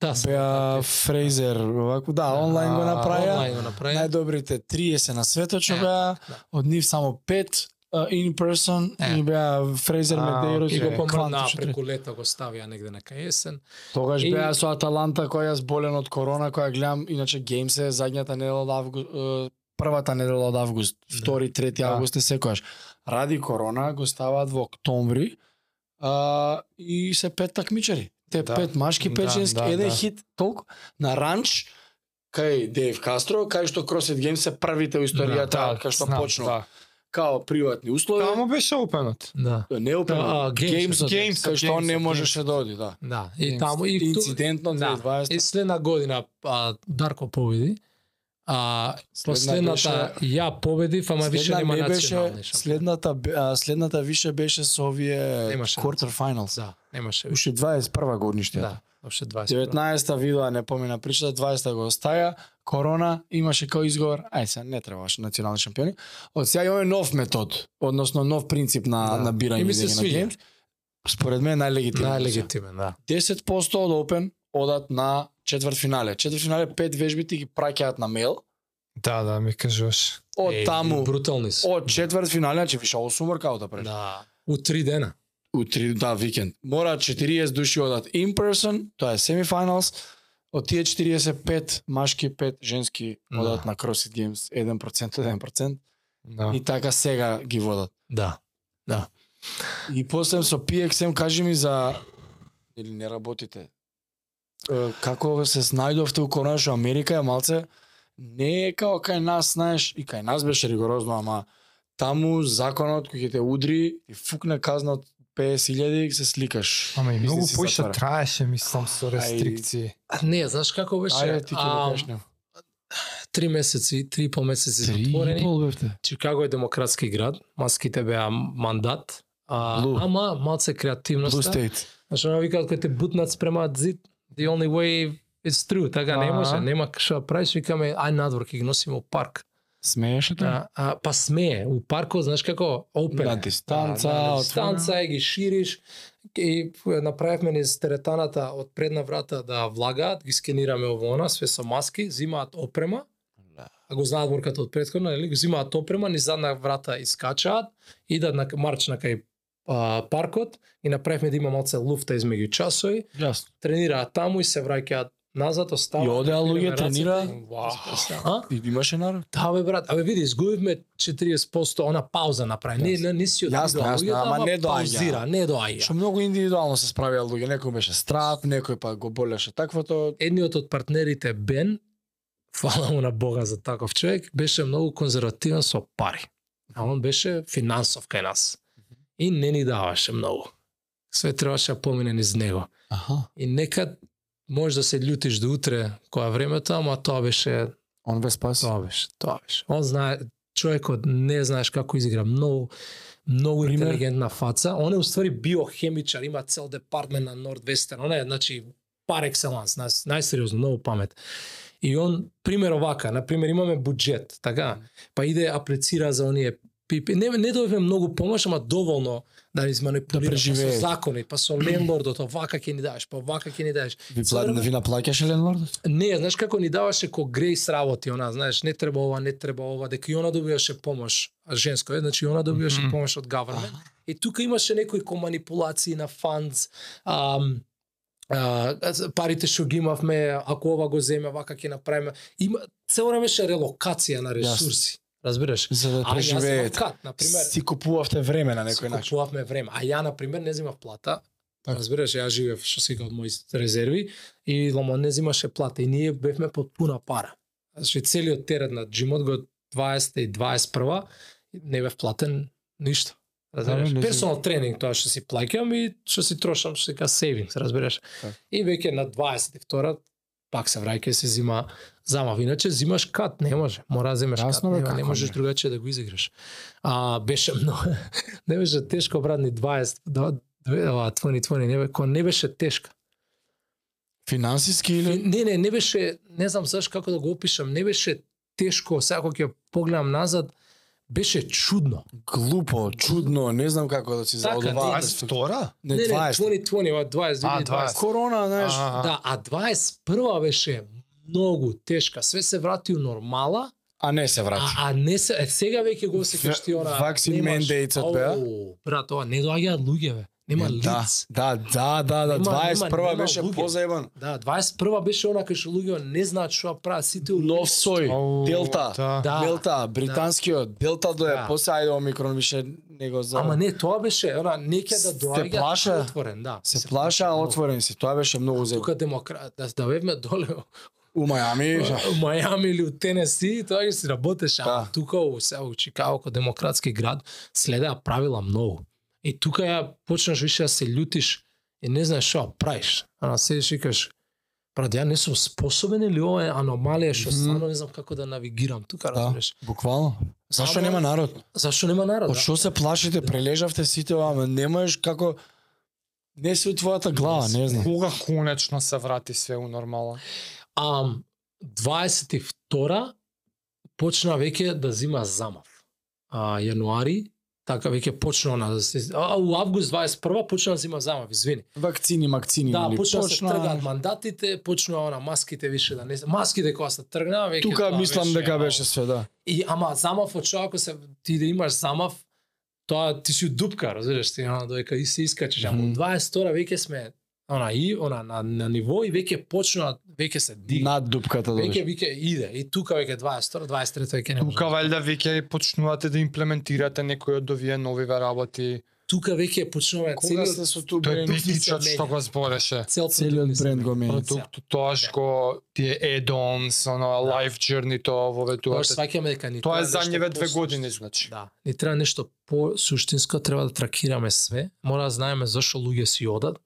Да, само Беа пет. Фрейзер, овако, да, онлайн го А, направија. онлайн го направија. Најдобрите 30 на светот што Е, беа, да. од нив само пет а, in person Е. и беа Фрейзер А, Медеирос И и го Е, помрдна Квант, што преку лето го ставија негде на кај есен. Тогаш И- беа со Аталанта која јас болен од корона, која гледам, иначе Games е задњата недела од август, е, првата недела од август, втори, трети Да. август е секојаш. Ради корона го ставаат во октомври а, и се пет такмичари. Те Да. пет машки, пет Да, женски, да, еден да. хит, толку. На ранч, кај Дейв Кастро, кај што CrossFit Games се првите во историјата, да, кај што знам, почнува. да. Као приватни услови, Таму беше опенот. Да. не опен, а, Games, Games, Games, кај што он не Games, можеше да оди, да. Да, и таму и ту, инцидентно да. 2020 И следна година а, Дарко победи. А последната ја победив, ама више Следна нема не национални шампион. следната бе- а, следната више беше со овие Нема шанс. quarter finals. Да, немаше више. Уште 21 годниште. Да, обше 20. 19-та видоа не помина причата, 20-та го остаја, корона, имаше као изговор, ај се не требаше национални шампиони. Од сега имаме нов метод, односно нов принцип на Да. на бирање И ми се лиги на свиѓа. Games. според мен најлегитимно. Најлегитимен, да. 10% од Open одат на четврт финале. Четврт финале пет вежби ти ги праќаат на мејл. Да, да, ми кажуваш. Од Е, таму Брутални се. од четврт финале, значи више 8 воркаута пред. Да. У три дена. у три да викенд. Мора 40 души одат in person, тоа е semifinals. Од тие 45 машки, 5 женски Да. одат на CrossFit Games 1%, 1%. Да. И така сега ги водат. Да. И после со PXM кажи ми за или не работите. Е, Како се снајдовте у конашо Америка е малце не е као кај нас, знаеш, и кај нас беше ригорозно, ама таму законот кој ќе те удри и фукне казна од 50.000 и се сликаш. Ама и многу Бизнис се поише затвара. траеше, мислам, со рестрикции. А, Не, знаеш како беше? Ајде ти ќе Ам, ми кажеш нема. три месеци, три и пол месеци затворени. Чикаго е демократски град, маските беа мандат. А, Блу. ама малце Blue креативност. State. Значи, она викаат кој те бутнат спрема зид, the only way is through, така не Аа. може, нема што да правиш, викаме, ај надвор ќе ги носиме у парк. Смееше те? А, а, па смее, у паркот, знаеш како, open. На е. дистанца, Да, на отворена. дистанца е, ги шириш и направивме низ теретаната од предна врата да влагаат, ги скенираме ово она, све со маски, зимаат опрема, а го знаат борката од претходно, нели? Го зимаат опрема, низ задна врата искачаат, идат на марч на кај а, паркот и направивме да има малце луфта измеѓу часови, Јасно. тренираат таму и се враќаат назад, оставаат. И одеа луѓе, тренираа. А? И имаше народ. Да, бе, брат, абе види, изгубивме 40%, она пауза направи. Не, не, не си од Јасно, јасно, ама не доаѓа. Паузира, не доаѓа. Што многу индивидуално се справија луѓе, некој беше страп, некој па го болеше таквото. Едниот од партнерите Бен, фала му на Бога за таков човек, беше многу конзервативен со пари. А он беше финансов кај нас. И не ни даваше многу. Све требаше да помине низ него. Аха. И некад може да се љутиш до утре која времето, ама тоа беше Он ве спаси. Тоа беше, тоа беше. Он знае, човекот не знаеш како изигра, многу многу Пример? интелигентна фаца. Он е уствари биохемичар, има цел департмент на Нордвестерн. Он е, значи, пар екселанс, нај, најсериозно, многу памет. И он, пример овака, на пример имаме буџет, така, па иде аплицира за оние пипи. Не, не добивме многу помош, ама доволно да изманипулира па со преживее. закони, па со лендлордот, овака ќе ни дадеш, па овака ќе ни дадеш. Ви пла... ви наплаќаше ленлордот? Не, знаеш како ни даваше ко грейс работи, она, знаеш, не треба ова, не треба ова, дека и она добиваше помош, а женско е, значи и она добиваше Мгм. помош од government. И тука имаше некои ко манипулации на фандс, ам, а, парите што ги имавме, ако ова го земе, вака ќе направиме. Има цело време беше релокација на ресурси. Разбираш? За да А јас земав преживеете. кат, на пример, Си купувавте време на некој си начин. купувавме време. А ја, на пример, не земав плата. Така. Разбираш, ја живеев што се вика, од мои резерви и Ломон не земаше плата и ние бевме под пуна пара. Значи целиот терет на джимот го 20 и 21 не бев платен ништо. Разбираш? Да, не Персонал тренинг тоа што си плаќам и што си трошам, што се вика savings, разбираш? Така. И веќе на 22 пак се враќа и се зима замав. Иначе зимаш кат, не може. Мора да земеш кат, Јасно бе, нема, не како можеш не. другаче да го изиграш. А беше многу не беше тешко брат ни 20 да две- ова, 2020 не бе, ко не беше тешка. Финансиски или Не, не, не беше, не знам заш како да го опишам, не беше тешко, сега кога ќе погледам назад, беше чудно. глупо, чудно, не знам како да си Така, заодоваат. втора? Не, 20. 2020, ова 20, А, 2020. Корона, знаеш. Да, а 21 беше многу тешка, све се врати у нормала, А не се а, врати. а не се, е, сега веќе го осеќаш ти ора. Vaccine mandates-от Брат, ова не доаѓаат луѓе, бе. Нема да, лиц. да, да, да, да, Нема- 21 нема беше луѓе. позаебан. Да, 21 беше она кај што луѓе не знаат што ја прават, сите у Нов сој, Делта. Да. Да. Делта, британскиот, Делта дое, Да. после ајде Омикрон више него за... Ама не, тоа беше, она не ќе да Се доаѓа плаша. отворен, да. се плаша, много. отворен си, тоа беше многу зебо. Тука демократ, да, да бевме доле У Мајами, у Мајами или у Тенеси, тоа ќе си работеше, ама Да. тука у се у Чикаго, кој демократски град, следеа правила многу. И тука ја почнаш више да се љутиш и не знаеш што да правиш. Ана седиш и кажеш, брат, ја не сум способен или ова е аномалија што Мгм. стварно не знам како да навигирам тука, да, разбираш. буквално. Зашо Ама- нема народ? Зашо нема народ? Од да? што се плашите, прележавте сите, ама не можеш како... Не си у твојата глава, не знам. Кога конечно се врати све у нормала? Ам, 22 почна веќе да зима замав. А, јануари, Така веќе почна она да се а, у август 21 почна да се има замав, извини. Вакцини, макцини, Да, нели? почна да се тргаат мандатите, почнува она маските више да не се маските кога се тргна веќе Тука тоа мислам беше, дека ау. беше све, да. И ама замав од човек, ако се ти да имаш замав, тоа ти си у дупка, разбираш ти, она доека и се искачеш, ама Мгм. mm 22 веќе сме она и она на, на ниво и веќе почнува, веќе се дигна. Над дупката Веќе дојде. веќе иде и тука веќе 22, 23 веќе не може. Тука валјда веќе почнувате да имплементирате некои од овие новиве работи. тука веќе почнува Кога целиот сте со ту Тој бренд? битичот што го збореше. цел Целиот бренд го мени. Продукт, тоаш Да. го тие add-ons, оно life journey тоа Тоа да воведувате. сваќаме дека ни Тоа е треба нешто задниве две посуштинско. години, значи. Да, ни треба нешто по суштинско, треба да тракираме све, мора да знаеме зашо луѓе си одат,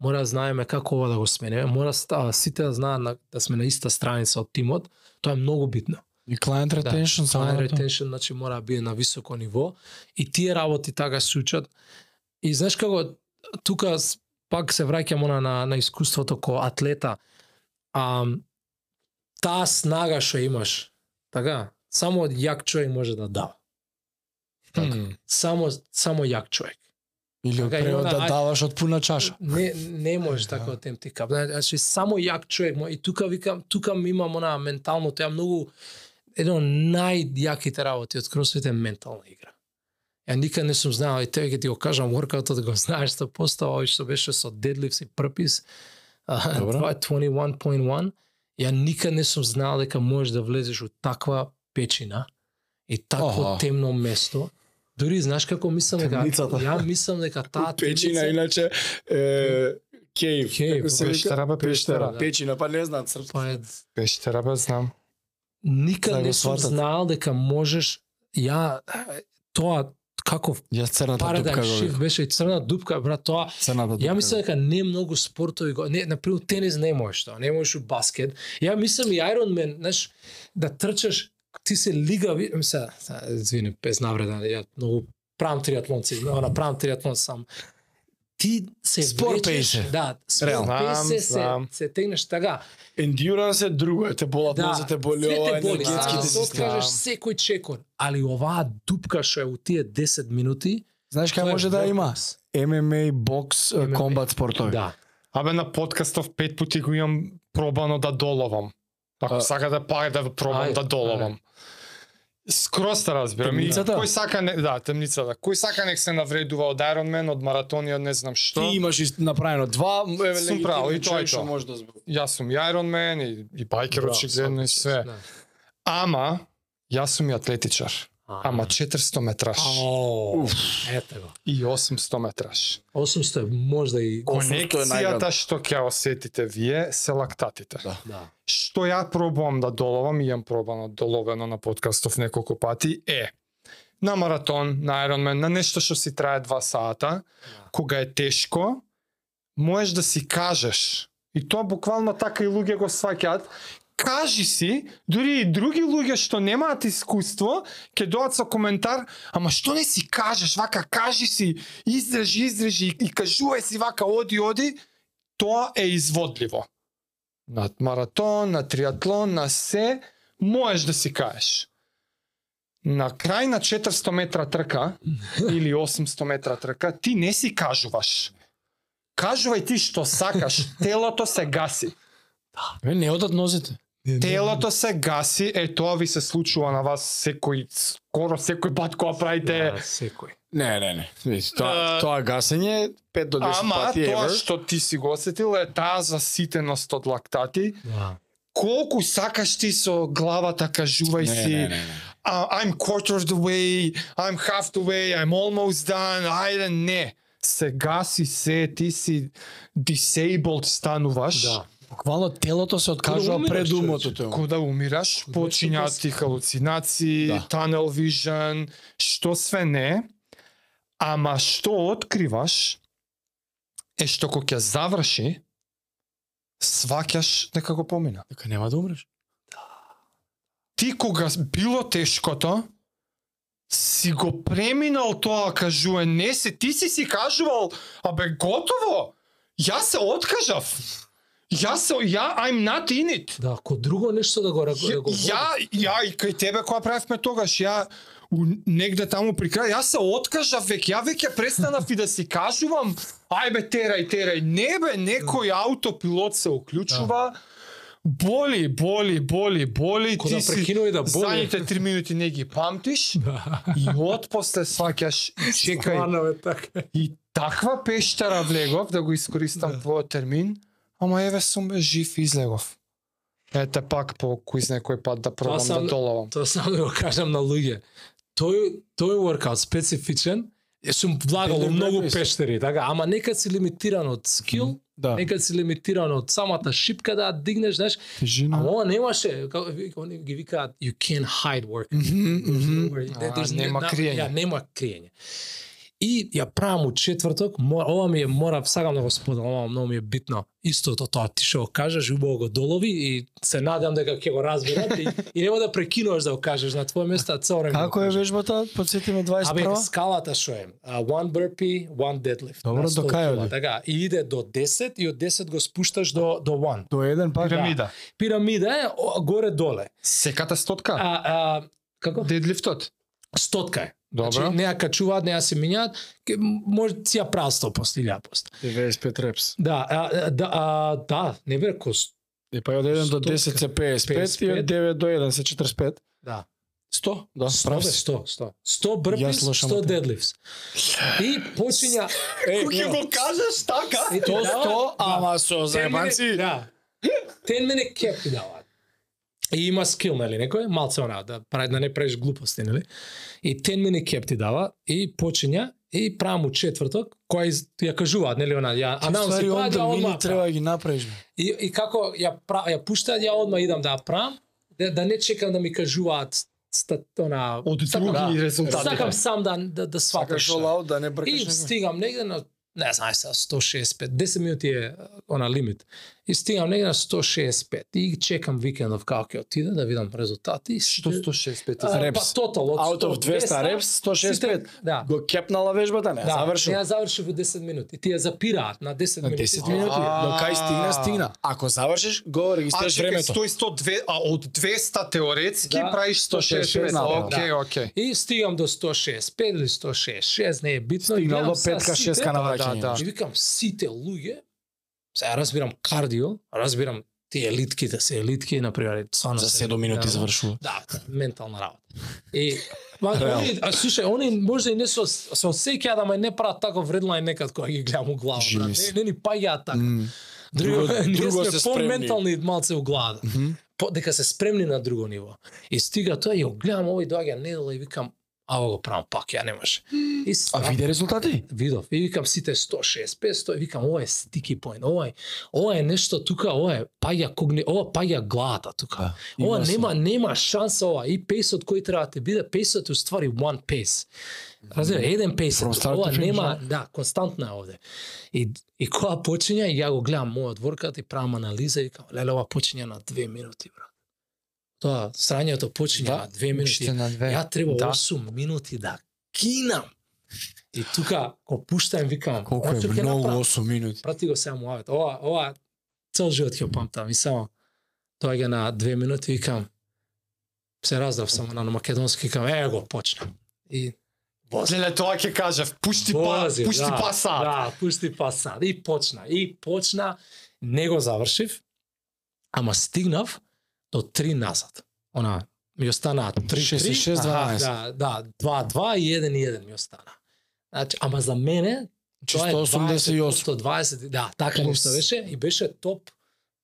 мора да знаеме како ова да го смениме, мора ста- сите да знаат на- да сме на иста страница од тимот, тоа е многу битно. И client retention само Да. Client на тоа. retention, значи мора да биде на високо ниво и тие работи така се учат. И знаеш како тука с- пак се враќам она на на искуството ко атлета. А таа снага што имаш, така, само јак човек може да дава. Хм. Само само јак човек. Или од Така, и превод она, да ај- даваш од пуна чаша. Не не да. можеш така од тем тикап. Значи само јак човек мо- и тука викам, тука ми имам она ментално, тоа е многу едно од најјаките работи од кросфит е ментална игра. Ја никад не сум знаел и тебе ќе ти го кажам воркаутот го знаеш 100%, а овој што беше со дедлифтс и прпис. а, Добро. Тоа е 21.1. Ја никад не сум знаел дека можеш да влезеш у таква печина и такво Аха. темно место. Дури знаеш како мислам дека Темницата. ја мислам дека таа Печина, темница- иначе, е, кейв. Кейв, како се вика? Пештера бе, пештера. да. Печина, па не знаат српски. Па е, Пештера бе, знам. Да никад го не сум сватат. знаел дека можеш ја е, тоа каков Јас црната дупка парадајм го шифт викам. беше и црна дупка брат тоа Црната дупка. Ја мислам дека не многу спортови го не на пример тенис не можеш тоа, не можеш у баскет. Ја мислам и Ironman, знаеш, да трчаш ти се лигави, мисля, са, извини, без навреда, ја многу правам триатлонци, она правам триатлон сам. Ти се Спор влечеш, пеј се. Да, спор Реално. пеј се, се, Знам, се тегнеш така. Endurance е друго, е, те болат Да, нозете, боли све ова, те боли, енергетските ти да, се системи. откажеш секој чекор, али оваа дупка што е у тие 10 минути, Знаеш кај тоа е може да има? workhorse. MMA, бокс, е, MMA. комбат спортови. Да. Абе на подкастов пет пати го имам пробано да доловам. А. Ако сакате пак да пробам Ајде, да доловам. Скроз те разбирам. И Темницата? Кој сака не, да, темницата. Кој сака нек се навредува од Ironman, од маратони, од не знам што. Ти имаш ист- направено два, еве, Сум прав, и легитимни тоа човек е што тоа. може да збори. Јас сум и Ironman и, и байкер Браво, очигледно и сакаш, све. да. Ама јас сум и атлетичар. Ама 400 метраш Уф. да. Ете го. и 800 метраш. 800 е можда и... 800 е Конекцијата најгад. што ќе осетите вие се лактатите. Да. Да. што ја пробувам да доловам и јам пробано доловено на подкастов неколку пати е на маратон, на Ironman, на нешто што си трае два сата, кога е тешко, можеш да си кажеш. И тоа буквално така и луѓе го сваќаат. Кажи си, дури и други луѓе што немаат искуство, ќе доат со коментар, ама што не си кажеш, вака кажи си, издржи, издржи и кажувај си вака оди, оди, тоа е изводливо. На маратон, на триатлон, на се, можеш да си кажеш. На крај на 400 метра трка или 800 метра трка, ти не си кажуваш. Кажувај ти што сакаш, телото се гаси. Е, не одат нозите. Телото се гаси, е тоа ви се случува на вас секој, скоро секој пат кога правите Да, секој. Не, не, не. Види, Тоа, Е, тоа гасење 5 до 10 Ама пати тоа евер. што ти си го осетил е таа заситеност од лактати. Да. Колку сакаш ти со главата кажувај Не, си не, не, не. а, I'm quarter of the way, I'm half the way, I'm almost done, ајде не. Сега си се, ти си disabled стануваш. Да. Буквално телото се откажува умираш, пред човече. умото те. Кога умираш, Кога почињаат супер- ти халуцинации, Да. да. tunnel vision, што све не. Ама што откриваш е што кога ќе заврши, сваќаш дека го помина. Дека нема да умреш. ти кога с- било тешкото, си го преминал тоа кажување, не се, ти си си кажувал, абе готово, ја се откажав, ја се, ја, I'm not in it. Да, ко друго нешто да го да го Ја, ја и кај тебе која правевме тогаш, ја у, негде таму при крај, јас се откажав веќе, ја веќе престанав и да си кажувам, ај бе терај, терај, не бе, некој аутопилот се уклучува, боли, боли, боли, боли, Ко ти да си прекинува и да боли. Задните три минути не ги памтиш Да. и од после сваќаш чекај Стварно е така. и таква пештара влегов да го искористам Да. твојот термин, ама еве сум бе жив и излегов. Ете пак по кој знае кој пат да пробам сам- да долавам. Тоа само да го кажам на луѓе. Тој тој workout специфичен, е сум влагал Биле многу препис. пештери, така, ама некад си лимитиран од скил, Да. некад си лимитиран од самата шипка да ја дигнеш, знаеш, Жина. ама ова немаше, како ви- они ги викаат you can't hide work. А, нема криење. да, Ја, нема криење. И ја правам у четврток, мо- ова ми е мора, сакам да го споделам, ова многу ми е битно. Истото тоа ти што го кажеш, убаво го долови и се надевам дека ќе го разберат и, и нема да прекинуваш да го кажеш на твое место, а цело време. да. го Како е кажеш. вежбата? Подсети ме Абе, 21. скалата што е? А, one burpee, one deadlift. Добро, На до 100 кај кила, оди? Така, и иде до 10 и од 10 го спушташ до, до 1. До еден пак. Пирамида. Пирамида е о, горе-доле. Секата стотка. А, а, како? Дедлифтот. Стотка е. Добро. Значи, не ја качуваат, не ја се минјаат, ке- може си ја прават 100% или 100%. 95 репс. Да, а, а, да, а, да, не бе кост. И па од 1 до Стотка. 10 се 55 и 55. од 9 до 1 се 45. Да. 100, да, 100, прав бе, си. 100, 100. 100 брпис, Јас слушам 100 опет. дедлифс. И почиња... кажеш така? Е, ти дава- ама со Те мене- Да. Тен мене кеп ти даваат. И има скил, нели, некој, малце она, да, прави- да не правиш глупости, нели? И тен мене кеп ти дава, и почиња, и правам у четврток, кој из- ја кажуваат, нели, она, ја анаунси, Анаунси па, да, одма, треба да ги направиш. бе. И, и како ја, пра, ја пуштаат, ја одма идам да ја правам, да, да не чекам да ми кажуваат ста, она, Од сакам- други да, резултати. сакам сам да, да, да сватам Сакаш што е. all out да не бркаш И некој. стигам негде на не знам сега 165, 10 минути е а, она лимит. И стигам негде на 165 и чекам викендов како ќе отиде да видам резултати. И Што сте- 165 А, reps? Па тотал од Out of 200 репс, репс 165. Да. Го кепнала вежбата, не, Да, завршил. не ја заврши во 10 минути. Ти ја запираат на 10 На минути. 10 минути, А. до кај стигна, стигна. Ако завршиш, го А регистрираш чекај, времето. стој 102, а од 200 теоретски Да. правиш 165, 165. да. Океј, океј. И стигам до 165 или 166, не е битно. и Стигнал гледам до сега петка, сите- шестка на враќање. Да, да, И викам, сите луѓе, сега разбирам кардио, разбирам тие елитките се елитки, например, стварно За се- 7 минути да. завршува. Да, ментална работа. И ма, Реално. они, а, слушај, они може и не со со сеќа да ме не прават тако вредлај некад кога ги гледам у глава. Живи брат. си. Не, не ни паѓаат така. Мм. Друго, Друго- ние друго сме се спремни. по-ментални малце у глава. Мгм. По, дека се спремни на друго ниво. И стига тоа и го гледам овој доаѓа недела и викам ава го правам пак, ја не може. И А виде резултати? видов и викам сите 165, 100, и викам ова е стики поен, ова е, ова е нешто тука, ова е паѓа когни, ова паѓа главата тука. Има ова се. нема нема шанса ова и пейсот кој треба да ти биде, пейсот е уствари one pace. Разбира, еден пейс. е From тука. start to Ова finish, нема, да, константна е овде. И и кога почиња, ја го гледам мојот воркаут и правам анализа и викам, леле ова почиња на 2 минути, брат. Тоа срањето почиња Да, на 2 минути. Уште на две. Ја треба Да. 8 минути да кинам. И тука го пуштам викам, Колку «Очо е ќе многу направам?» 8 минути. Прати го сега муавет. Ова, ова цел живот ќе го памтам и само доаѓа на 2 минути викам се раздрав само на македонски викам е го почна. И вози. Леле, тоа ќе кажав, пушти па, Вози, пушти да, па сад. Да, пушти паса. И почна, и почна, не го завршив, ама стигнав до 3 назад. Она ми остана 3 Шест и 3. шест, дванаест. Да, да, 2 2 и 1 и 1 ми остана. Значи, ама за мене тоа е Чисто 88. 20, 120, да, така Плюс. нешто беше и беше топ.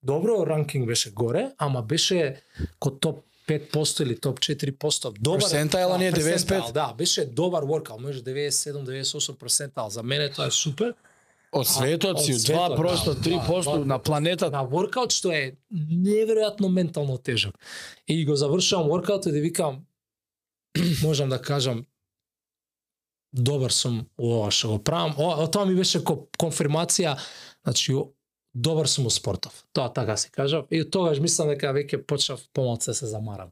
Добро ранкинг беше горе, ама беше ко топ 5% или топ 4%. Добар Персентајла ни е 95. персентајл, Да, беше добар воркаут, може 97-98 персентал. За мене тоа е супер. Од светот си, од светот, 2%, да, 3% да, на планетата. На воркаут што е неверојатно ментално тежок. И го завршувам воркаут и да викам можам да кажам добар сум у ова што го правам. Ова, тоа ми беше ко- конфирмација, значи о- добар сум у спортов. Тоа така се кажав. И тогаш мислам дека веќе почнав помалце се замарам.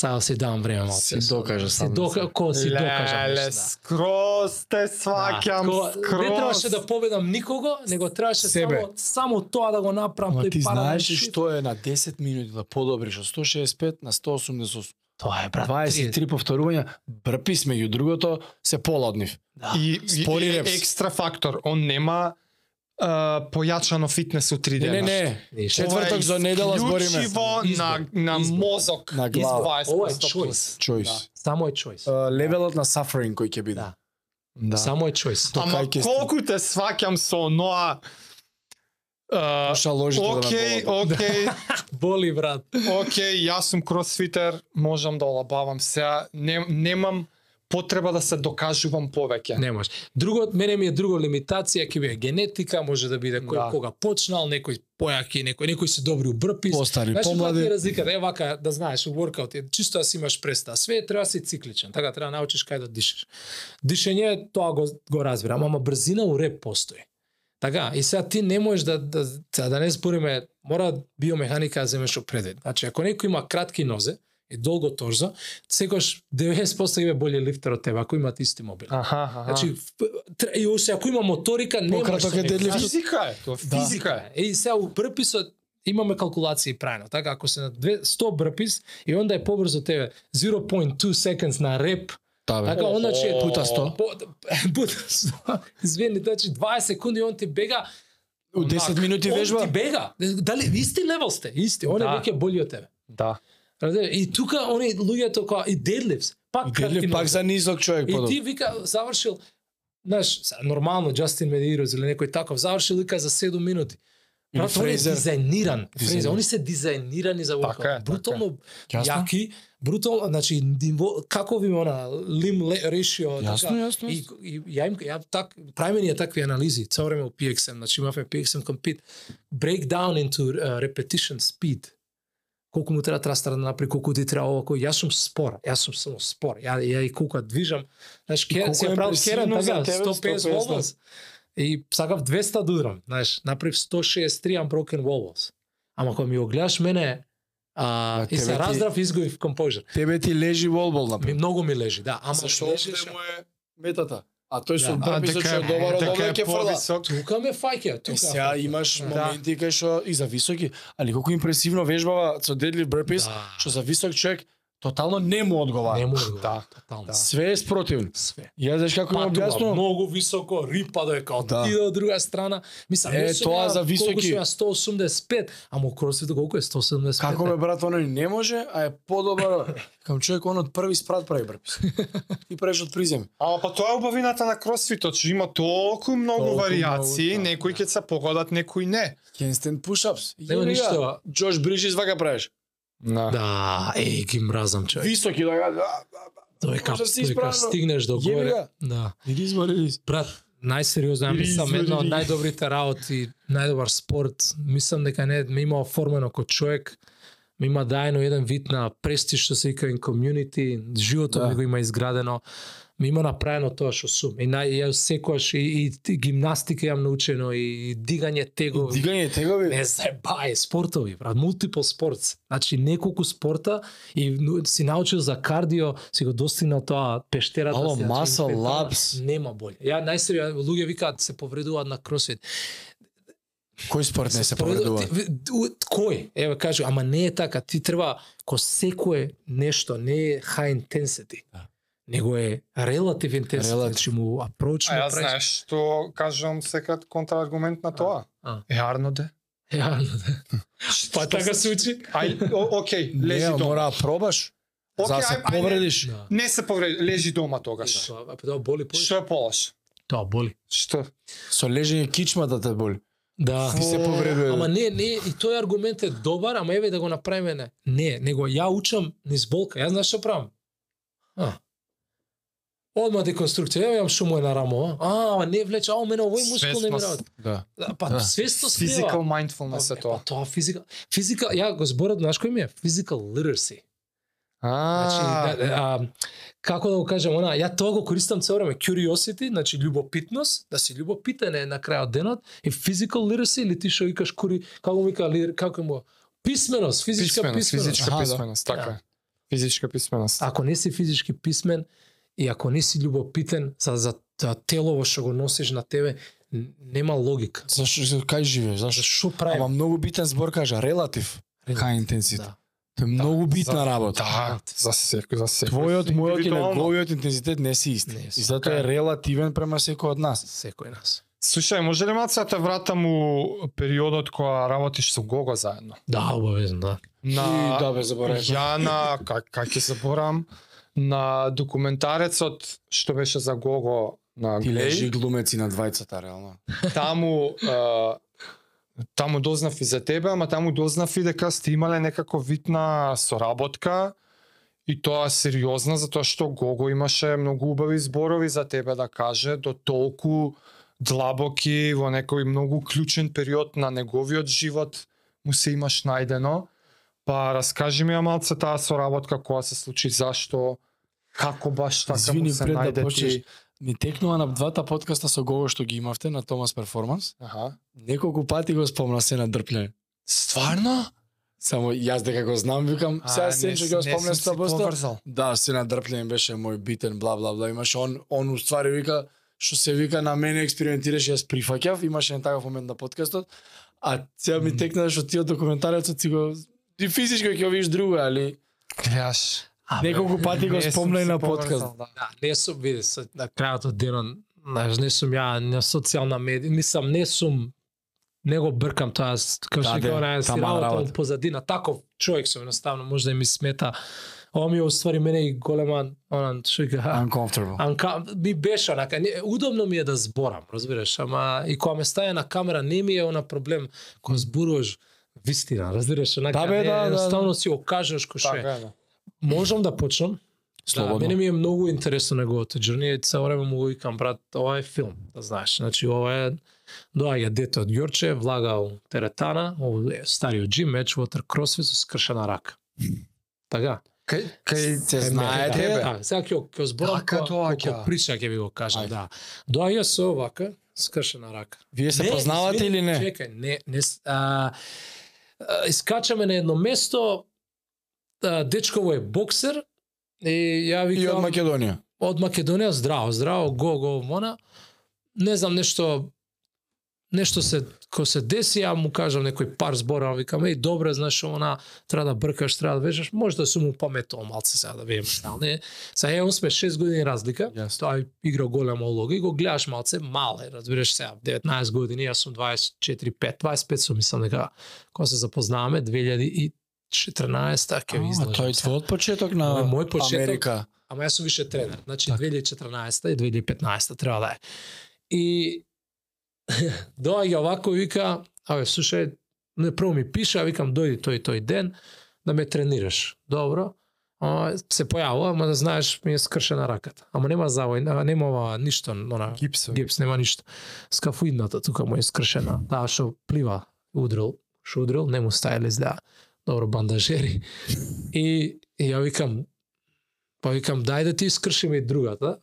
Сега си давам време малце. Си докажа Си сам на дока, себе. ко си докажа. Леле, да. скроз те сваќам, скроз. Не требаше да победам никого, него требаше Себе. само само тоа да го направам Ама тој ти паралелен знаеш шифт. што е на 10 минути да подобриш од 165 на 188. Тоа е, брат. 23 повторувања, брпис меѓу другото, се пола од нив. Да. И, и, Спори и репс. екстра фактор, он нема а, појачано фитнес у три Не, дена. не, не. Ништо. Четврток за недела збориме. Исклучиво Избор. на, на Избор. мозок. На из глава. 20% Ова е плюс. чојс. Чојс. Само е чојс. Uh, левелот на suffering кој ќе биде. Да. Да. Само е чојс. Тоа Ама кај ќе колку те сваќам со оноа а, Ша ложите Океј, да ме океј, Боли, брат. океј, јас сум кросфитер, можам да олабавам сега, не, немам потреба да се докажувам повеќе. Не може. Друго, мене ми е друго лимитација, ќе биде генетика, може да биде кој Да. кога почнал, некој појаки, некој, некој се добри у брпис. Постари, Знаеш каква ти е помлади. разликата? Е вака, да знаеш, у воркаут е чисто да си имаш преста. Све треба да си цикличен, така треба да научиш кај да дишиш. Дишење, тоа го, го разбирам, ама брзина у реп постои. Така, и сега ти не можеш да, да, да, да не збориме, мора биомеханика да земеш у предвид. Значи, ако некој има кратки нозе и долго торзо, секогаш 90% има боле лифтер од тебе, ако имат исти мобил. Аха, аха. Значи, в- тр- и още ако има моторика, не може Пократок со е него. deadlift. Знаеш, физика е, тоа Да. физика е. е. И сега у брписот имаме калкулации правено. Така, ако се на две- 100 брпис и онда е побрзо од тебе 0.2 seconds на реп, Та, бе. така, Охо. оначе е Пута 100. По- Бута 100. Извини, значи 20 секунди он ти бега, У 10 минути он вежба. ти бега. Дали исти левел сте? Исти, он е Да. веќе боли од тебе. Да. Разбираш? И тука они луѓето кои и deadlifts, пак И Дедлив кратки пак нозе. за низок човек И подобро. ти вика завршил Знаеш, са- нормално Джастин Медирос или некој таков завршил вика за 7 минути. Или Брат, он е Фрейзер. дизајниран. Фрейзер, Дизајниран. они се дизајнирани за Така е, воркаут. така Брутално Јасно? јаки, брутално, значи ниво како ви она лим решио Јасно, јасно. така, И, и ја им ја так правиме ние такви анализи цело време у PXM, значи имавме PXM compete break down into uh, repetition speed. Колку му треба трастара да направи, колку ти треба ова, кој јас сум спор, јас сум само спор. Ја ја и колку ја движам, знаеш, ке колку се е правил керен импресивно за така тебе, 150 150. wobbles. И сакав 200 да удрам, знаеш, направив 163 unbroken wobbles. Ама кога ми го гледаш мене, а, На и тебе се Така ти- раздрав изгубив composure. Тебе ти лежи волбол на Ми многу ми лежи, да, ама Зашто ми лежи. овде му е метата. А тој со Да. да. брписот што е добар од овде ќе фрла. повисок. Тука ме фаќа, тука. Е, ме сега фаќа. имаш Да. моменти кај што и за високи, али колку импресивно вежбава со дедлив брпис, Да. што за висок човек тотално не му одговара. Не може Да, да, тотално. да. Све е спротивно. Све. Ја знаеш како ми Патува објаснувам? многу високо, рипа да е као Да. да. ти од друга страна. Мислам, Е, јас сум тоа ја- за високи. Колку сум ја 185, ама у кросфито колку е 175? Како бе? бе брат, оној не може, а е подобар. Кам човек он од први спрат прави брпис. Ти преш од призем. Ама па тоа е убавината на кросфитот, што има толку многу Толку вариации, многу, да, некои да. ќе се погодат, некои не. Handstand push-ups. Нема ништо. Джош Брижис вака правиш. Да. Да, еј, ги мразам човек. Високи да га. Тоа е кап, Може да си тоа е кап, исправно. стигнеш до Јеби горе. га. Да. Иди избори. Брат, најсериозно, ја Или мислам, една од изведени. најдобрите работи, најдобар спорт, мислам дека не, ме има оформено кој човек, ме има дајно еден вид на престиж што се вика in community, животот Да. да. ми го има изградено, ми има направено тоа што сум. И, на, и ја секојаш, и, и, гимнастика јам научено, и, дигање тегови. Дигање тегови. Не се бај, спортови, брат, мултипл спортс. Значи неколку спорта и ну, си научил за кардио, си го достигнал тоа пештерата. Ало, си ја muscle чуј, петала, labs. Нема боле. Ја најсериозно луѓе викаат се повредуваат на кросфит. Кој спорт не се повредува? Ти- ви- у- Кој? Еве кажу, ама не е така. Ти треба ко секое нешто не е high intensity. Да. Него е relative intensity, Relative. значи му approach А му ја правиш- знаеш што кажам секад контрааргумент на тоа. а. Е арноде. Ја, Па така се учи. Ај, о- окей, Не, лежи дома. мора да пробаш. За да Океј, се ај, ај, повредиш. Да. Не се повреди, лежи дома тогаш. Тоа тоа боли повеќе. Што е полаш? Тоа боли. Што? Со лежење кичмата те боли. Да. Ти се повредува. Ама не, не, и тој аргумент е добар, ама еве да го направиме не. Не, него ја учам низ болка. Ја знаеш што правам? А. Одма деконструкција. Еве јам што му е на рамо. А, а ама не влече, а мене овој мускул не ми Свесност. работи. Да. Да, Па Да. свесно слива. Physical mindfulness е тоа. Па, тоа физика. Физика, ја го зборот, знаеш кој ми е? Physical literacy. Значи, да, А, да, а, како да го кажам, она, ја тоа го користам цело време, curiosity, значи љубопитност, да си љубопитен е на крајот денот, и physical literacy, или ти што викаш кури, како му вика, лир- како му, писменост, физичка писменост, писменост. физичка Аха, да. писменост, така. Да. е. Физичка писменост. Ако не си физички писмен, и ако не си љубопитен за, за та телово што го носиш на тебе, н- нема логика. Зашо кај живееш? Зашо? Што правим? Ама многу битен збор кажа релатив. Релатив, High intensity. да. Тоа е многу битна за- работа. Да, за секој, за секој. Твојот, мојот и Индивидуално. неговиот интензитет не си исти. Не И си, затоа е така релативен према секој од нас. Секој нас. Слушај, може ли малку да те вратам у периодот кога работиш со Гого заедно? Да, обавезно, да. И, На да бе, заборавив. Ја на как как ќе заборам на документарецот што беше за Гого на Ти лежи Глеј, глумеци на двајцата, реално. таму е, таму дознав и за тебе, ама таму дознав и дека сте имале некако вид на соработка и тоа сериозна затоа што Гого имаше многу убави зборови за тебе да каже до толку длабоки во некој многу клучен период на неговиот живот му се имаш најдено. Па раскажи ми ја малце таа соработка која се случи, зашто, како баш така Извини, му се пред да најде почнеш. ти. Ни текнува на двата подкаста со Гого што ги имавте на Томас Перформанс. Аха. Неколку пати го спомна се на дрплене. Стварно? Само јас дека го знам, викам, сега се ќе го спомнам 100%. Да, се на дрплене беше мој битен, бла, бла, бла. Имаше он, он уствари вика, што се вика на мене експериментираше, јас прифаќав, имаше не таков момент на подкастот. А сега ми Мгм. текна што тиот документарецот си го... Ти физичко ќе го видиш друго, али... Гледаш. Неколку пати го спомна и на подкаст. Да, не сум, види, се, на крајот од денот, знаеш, не сум ја на социјална медија, мислам, не сум, не го бркам тоа, с- како Да, што де, кажа, на си таман работа работа. од позадина, таков човек сум, едноставно, може да ми смета. Ова ми е, уствари, мене и голема, онан, што ја кажа, Uncomfortable. Анка, ми беше онака, не, удобно ми е да зборам, разбираш, ама и кога ме стаја на камера не ми е она проблем кога зборуваш вистина, разбираш, онака, Да, бе, не, да, да, едноставно си окажеш кој што е. Така е. да. Можам да почнам. Слободно. Да, мене ми е многу интересно неговото Journey, цело време му го викам, брат, ова е филм, да знаеш. Значи, ова е, доаѓа дете од Ѓорче, влага у теретана, у е, стариот джим, меч, вотер, кросфит, со скршена рака. Така. Кај, кај Се знае да. тебе. Да, сега ќе го- ќе го зборам, Така ко- доаѓа. колку прича ќе ви го кажам, Ајде. да. Доаѓа со овака, скршена рака. Вие се Не, познавате извини, или не? Чекај, не, не с- а, а, искачаме на едно место. А, дечково е боксер и ја И од викам од, Македонија. од Македонија здраво, здраво, го го мона. Не знам нешто нешто се ко се деси, ја му кажам некој пар збора, а викам еј добре, знаеш она треба да бркаш, треба да вежаш, може да сум му паметувал малце сега да видиме, ал не. Са е сме 6 години разлика. Јас. Тој игра голема улога и го гледаш малце мале, разбираш сега, 19 години, јас сум 24-5, 25 сум мислам дека кога се запознаваме 2014-та ќе ви излажам. Тој сега. твојот почеток на Ова е мој почеток. Америка. Ама јас сум више тренер. Значи Така. 2014 и 2015 треба да е. И доаѓа овако и вика, абе слушај, не прво ми пише, а викам дојди тој и тој ден да ме тренираш. Добро. А, се појавува, ама да знаеш, ми е скршена раката. Ама нема завој, а, нема ова, ништо, она, Гипсови. гипс, нема ништо. Скафуидната тука му е скршена. Таа што плива, удрил, што удрил, не му стаја лезда. Добро, бандажери. И, и ја викам, па викам, дај да ти искршиме и другата.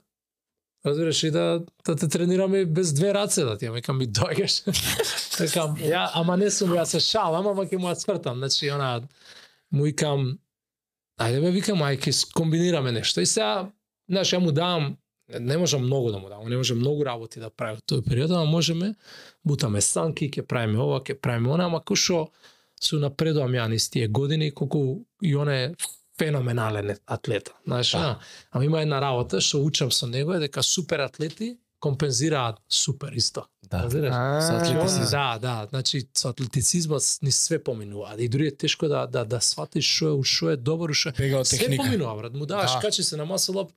Разбираш, и да, да те тренираме без две раце, да ти ја викам, ми дојгаш. Викам, ја, ама не сум, ја се шалам, ама ќе му ја свртам. Значи, она, му викам, ајде бе, викам, ај, ќе комбинираме нешто. И сега, знаеш, ја му давам, не можам многу да му давам, не можам многу работи да правим тој период, ама можеме, бутаме санки, ќе правиме ова, ќе правиме она, ама кушо су напредувам ја низ тие години, колку и он е феноменален атлет. Знаеш, да. ама има една работа што учам со него е дека супер атлети компензираат супер исто. Да. Разбираш? Со Значи, атлетицизм. он, да, да, значи со атлетицизмот ни све поминува. И дури е тешко да да да сфатиш што е, у што е добар, у што е. Бега од Све Па, техника. поминува, брат. Му даваш Да. да. качи се на масело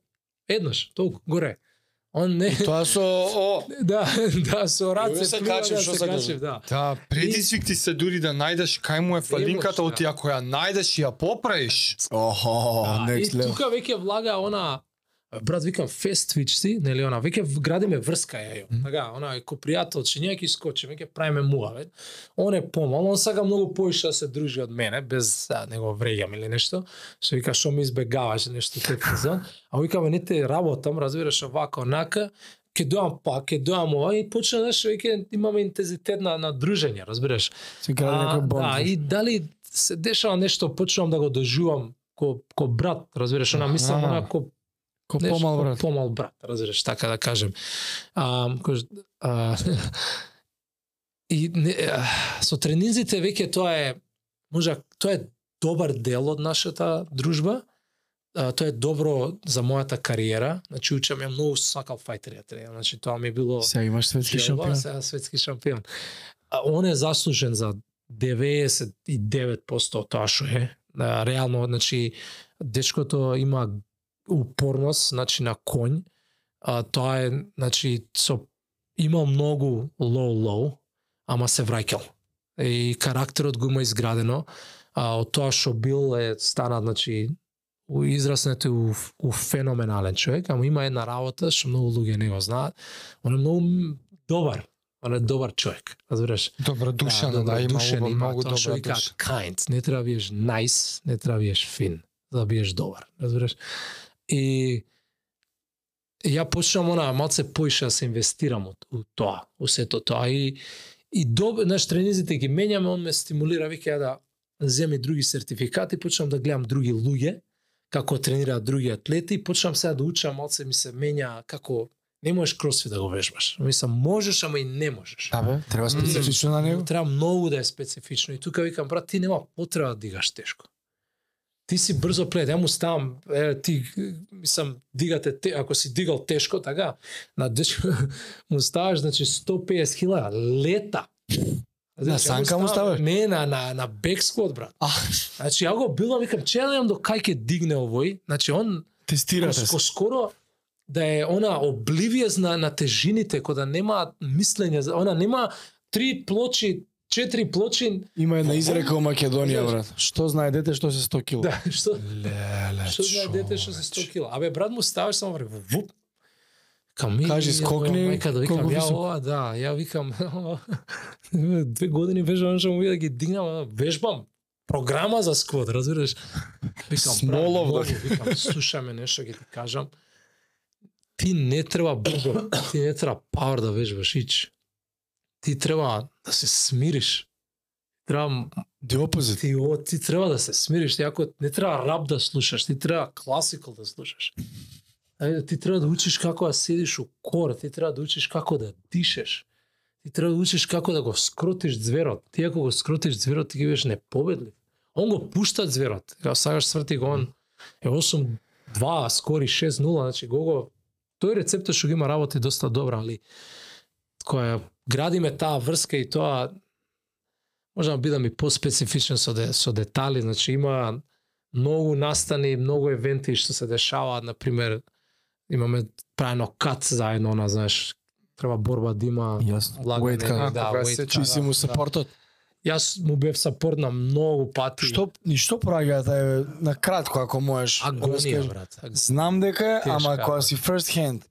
еднаш, толку горе. Он не Тоа со о, да, да, со раце се плива, качив, да, што се се качив? качив, да. Да, предизвик ти се дури да најдеш кај му е фалинката, имаш, оти ако ја најдеш и ја поправиш. Охо, Да, и next level. тука веќе влага она брат викам фест Twitch си, нели она веќе в- градиме врска ја јо. Така, она е ко пријател, че ние ќе искочиме, ќе правиме муавет. Он е помал, он сака многу поише да се дружи од мене без да него вреѓам или нешто. Што вика што ми избегаваш нешто тип сезон. А викаме не те работам, разбираш овако онака ќе доам пак, ќе доам ова и почна знаеш веќе имаме интензитет на, на дружење, разбираш. Се гради некој бонд. Да, и дали се дешава нешто, почнувам да го доживам ко, ко брат, разбираш, она мислам Аха. она ко, Ко знаеш, помал ко брат. помал брат, разбираш, така да кажем. А, кој, а, и не, а, со тренинзите веќе тоа е, може, тоа е добар дел од нашата дружба. А, тоа е добро за мојата кариера. Значи, учам ја многу сакал фајтери ја тренирам. Значи, тоа ми е било... Сега имаш светски Ја, шампион. Сега светски шампион. А, он е заслужен за 99% од тоа што е. А, реално, значи, дечкото има упорност, значи, на конј. А, тоа е, значи, со, има многу лоу-лоу, ама се враќал. И карактерот го има изградено. А, од тоа што бил е стана, значи, у израснете у, у феноменален човек, ама има една работа што многу луѓе не го знаат. Он е многу м- добар. Он е добар човек, разбираш? Добродушен, да, да, има добродушен, убав, многу тоа што добра ви кажа, душа. kind, не треба да биеш nice, не треба да биеш fin, за да биеш добар, разбираш? И ја почнам она малце поише да се инвестирам од- у тоа, у сето тоа и и доб, наш тренизите ги менјаме, он ме стимулира веќе ја да земе други сертификати, почнам да гледам други луѓе како тренираат други атлети, почнам сега да учам, малце ми се менја како не можеш кросфит да го вежбаш. Мислам, можеш, ама и не можеш. Да бе, треба специфично на него. Му треба многу да е специфично. И тука викам, брат, ти нема потреба да дигаш тешко. Ти си брзо плет, ја му ставам, е, ти, мислам, дигате, те, ако си дигал тешко, така, на дечко му ставаш, значи, 150 хиляда, лета. На Значи, ја санка му ставам- ставаш? Не, на, на, на бек сквот, брат. А. Значи, ја го билам, викам, че ја до кај ќе дигне овој, значи, он Тестираш. Ко, ко скоро да е она обливијез на, на тежините, кој да нема мислење, за- она нема три плочи, четири плочи, Има една изрека во Македонија, Знаеш. брат. Што знае дете што се 100 кило? да, што, Леле, што знае дете што се 100 кила. Абе, брат му ставаш само време, вуп, Кам, ми, Кажи, ја, скокни, моја мајка да викам, колку ја високо. ова, да, ја викам, две години вежбам, што му види да ги дигнам, а, вежбам, програма за сквот, разбираш? Викам, Смолов, да. брат, да. викам, слушаме нешто, ќе ти кажам. Ти не треба брзо, ти не треба пауер да вежбаш, ич. Ти треба да се смириш. Треба Ди опозит. ти, о, ти треба да се смириш, ти ако не треба рап да слушаш, ти треба класикал да слушаш. Ајде, ти треба да учиш како да седиш у кор, ти треба да учиш како да дишеш. Ти треба да учиш како да го скротиш зверот. Ти ако го скротиш зверот, ти ќе бидеш непобедлив. Он го пушта зверот. Као сагаш сврти го он. Е 8-2, скори 6-0, значи го го... Тој рецептот што го има работи доста добра, али која градиме таа врска и тоа можам да бидам и поспецифичен со, де, со детали, значи има многу настани, многу евенти што се дешаваат, на пример имаме праено кат заедно, она, знаеш, треба борба да има Јасно. влагање, Wait, как? да, Кога wait се cut, Чи си да, му да. сапортот? Јас му бев сапорт на многу пати. Што ни што праѓа таа на кратко ако можеш. да Агонија, раскажеш. брат. агонија. Знам дека, е, Тешка, ама брат. кога си first hand,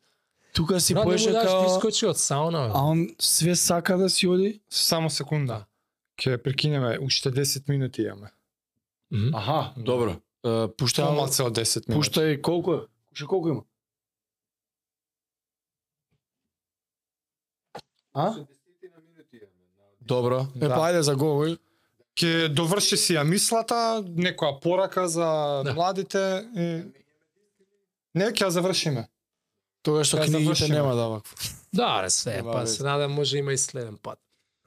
тука си Брат, не му поеше даш као искочи од сауна, бе. а он све сака да си оди. Само секунда. Ке прекинеме, уште 10 минути имаме. Мгм. Аха, добро. Е, Тоа Пуштај малце од 10 минути. пуштај колку е? Куше колку има? А? Добро. Е, Да. па ајде за говор. Ке доврши си ја мислата, некоја порака за Да. младите и... Не, ќе ја завршиме. Тога што Ја книгите завршиме. нема да вакво. Да, ре, све, Нема па веќе. се надам може има и следен пат.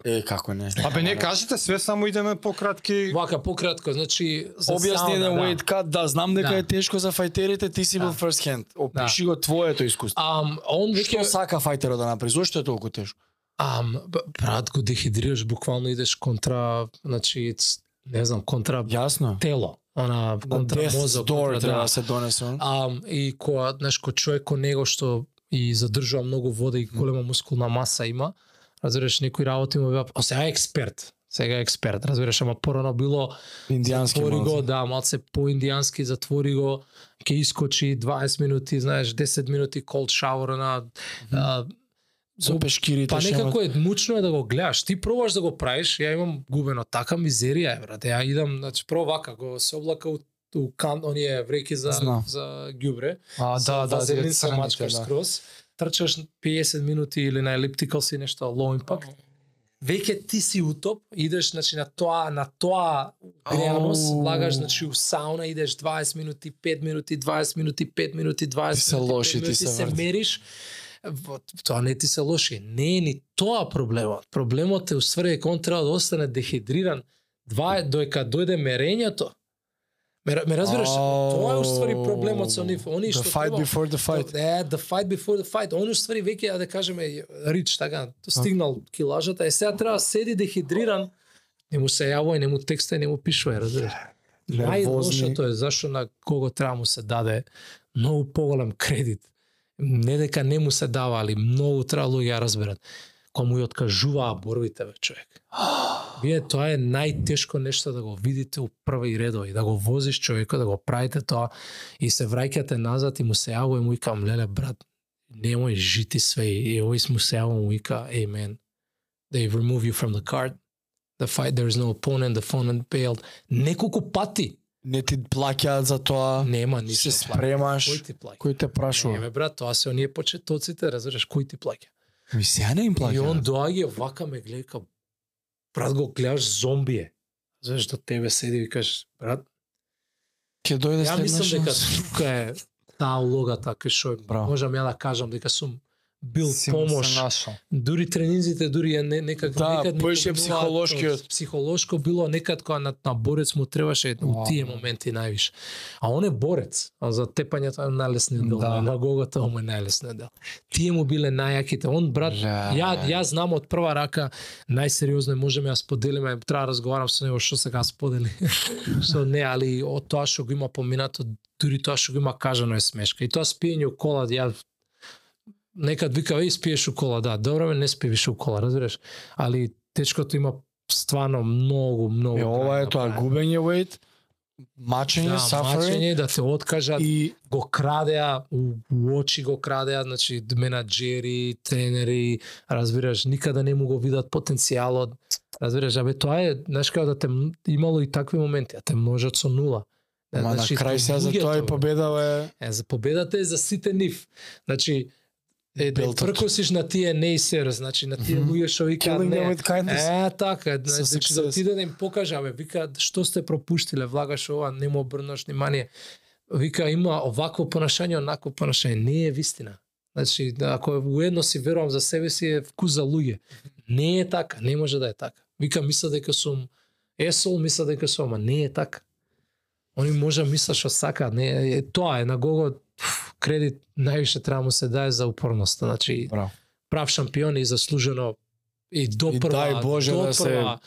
Е, како не. Абе не кажете, све само идеме пократки. Вака пократко, значи за Објасни сауна, еден да. weight cut, да, знам дека Да. е тешко за фајтерите, ти си бил Да. first hand. Опиши го твоето искуство. Ам, он веќе Што сака фајтерот да направи? Зошто е толку тешко? Ам, б- брат, го дехидрираш, буквално идеш контра, значи, ц- не знам, контра Јасно. тело, она, контра мозок, контра, треба да. да се донесе. он. Ам, и која, знаеш, кој човек кој него што и задржува многу вода и голема мускулна маса има, разбираш, некои работи му беа, а сега е експерт, сега е експерт, разбираш, ама порано било, Индијански затвори малце. го, да, малце по-индијански, затвори го, ќе искочи 20 минути, знаеш, 10 минути cold shower на а, За пешкирите Па шемат. некако е мучно е да го гледаш. Ти пробаш да го правиш, ја имам губено така мизерија е, брате. Ја идам, значи прво вака го се облака у, у кан, оние вреки за Знам. за ѓубре. А, Со да, вазелин се мачкаш да. скроз. Трчаш 50 минути или на елиптикал си нешто low impact. Веќе ти си утоп, идеш значи на тоа, на тоа греаност, Ау. лагаш значи у сауна, идеш 20 минути, 5 минути, 20 минути, 5 минути, 20 Ти се минути, лоши, 5 ти минути, се се врти. мериш. Во- Тоа не ти се лоши. Не е ни тоа проблемот. Проблемот е усврди дека он треба да остане дехидриран два доека дојде мерењето. Ме, ра- ме разбираш, Ау. тоа е уствари проблемот со нив. Они што The fight прво- before the fight. Тоа- Е, the fight before the fight. Они уствари веќе, а да кажеме, рич, така, стигнал килажата, е сега треба да седи дехидриран, не му се јавува и не му текста и не му пишува, разбираш. Нервозни. Најлошото е зашто на кого треба му се даде многу поголем кредит. Не дека не му се дава, али многу треба луѓе да ја разберат. Кога му ја откажуваа борбите, бе, човек. Вие тоа е најтешко нешто да го видите у први редови, да го возиш човекот, да го правите тоа и се враќате назад и му се јавува и му викам, леле брат, немој жити све и овој му се јавува и му вика, hey man, they remove you from the card, the fight, there is no opponent, the opponent bailed. Неколку пати Не ти плаќаат за тоа. нема Се ништо плаќа. Кој спремаш. ти плаќа? Кој те прашува? Еме брат, тоа се оние почетоците, разбираш, кој ти плаќа? Ми сега не им И он плаќаат. доаѓа вака ме гледа ка, брат го гледаш зомбие. Знаеш до тебе седи и кажеш, брат, Ќе дојде ја мислам дека следнаш. тука е таа улогата кај што Браво. можам ја да кажам дека сум бил Си му се помош. нашол. Дури тренинзите, дури е не, некак Да, некад ми поише помогнуваат психолошкиот. од- Психолошко било некад кога на, на борец му требаше Вау. у тие моменти највише. А он е борец, а за тепањето е најлесниот дел, Да. да. на гогата му е најлесниот дел. Тие му биле најаките. Он брат, Да. ја ја знам од прва рака најсериозно можеме да споделиме, треба да разговарам со него што сега сподели. со не, али од тоа што го има поминато, дури тоа што го има кажано е смешка. И тоа спиење у кола, ја некад вика, еј спиеш у кола, да, добро ме не спивиш у кола, разбираш. Али течкото има стварно многу, многу. Е, ова е тоа губење weight, мачење, Да, suffering мачење, да се откажат, и го крадеа, у, у очи го крадеа, значи менаџери, тренери, разбираш, никада не му го видат потенцијалот. Разбираш, абе тоа е, знаеш како да те м- имало и такви моменти, а те множат со нула. Е, Ма на значи, крај сега за луѓето, тоа и бе. победа е Е, за победата е за сите нив. Значи, е, да Белтот. пркосиш на тие нейсер, значи на тие Мгм. луѓе што викаат killing them не. with kindness. Е, така, Со значи да success. отиде да им покажа, бе, вика, што сте пропуштиле, влагаш ова, не му обрнаш внимание. Вика, има овакво понашање, онакво понашање. Не е вистина. Значи, да, ако уедно си верувам за себе си, е вкус за луѓе. Не е така, не може да е така. Вика, мисла дека сум есол, мисла дека сум, ама не е така. Они може мисла што сака, не е тоа е на кого пф, кредит највише треба му се дае за упорноста, значи Браво. прав шампион и заслужено и до И прва, дај Боже до да се прва,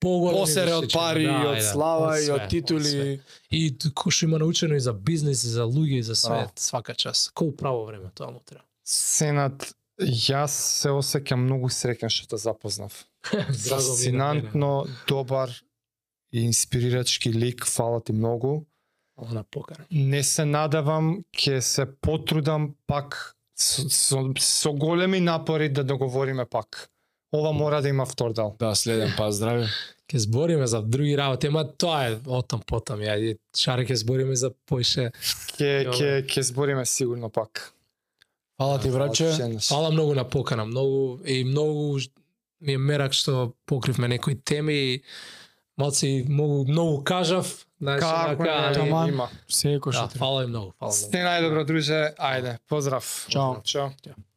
поголеми Посере од височини. пари, Да, и да, од слава, и све, од све. титули. И кој што има научено и за бизнес, и за луѓе, и за Браво. свет, свака час. Кој право време тоа му треба. Сенат, јас се осеќам многу среќен што те запознав. Драго ми е да на мене. Фасцинантно, добар и инспирирачки лик, фала ти многу. Ала на покар. Не се надавам, ќе се потрудам пак со, со, со големи напори да договориме пак. Ова мора да има втор дел. Да, следен пас, здраве. Ке збориме за други работи, ама тоа е отам потам. Ја и шаре ке збориме за поише. Ке Добре. ќе ќе збориме сигурно пак. Фала ти, Фала ти враче. ше еднаш. Фала многу на покана, многу и многу ж- ми е мерак што покривме некои теми и малце и многу многу кажав, знаеш, Како онака, не, али- Таман. има. Секој што Да, треба. фала и многу, фала. и многу. Сте најдобро, друже. Ајде, поздрав. Чао. Чао.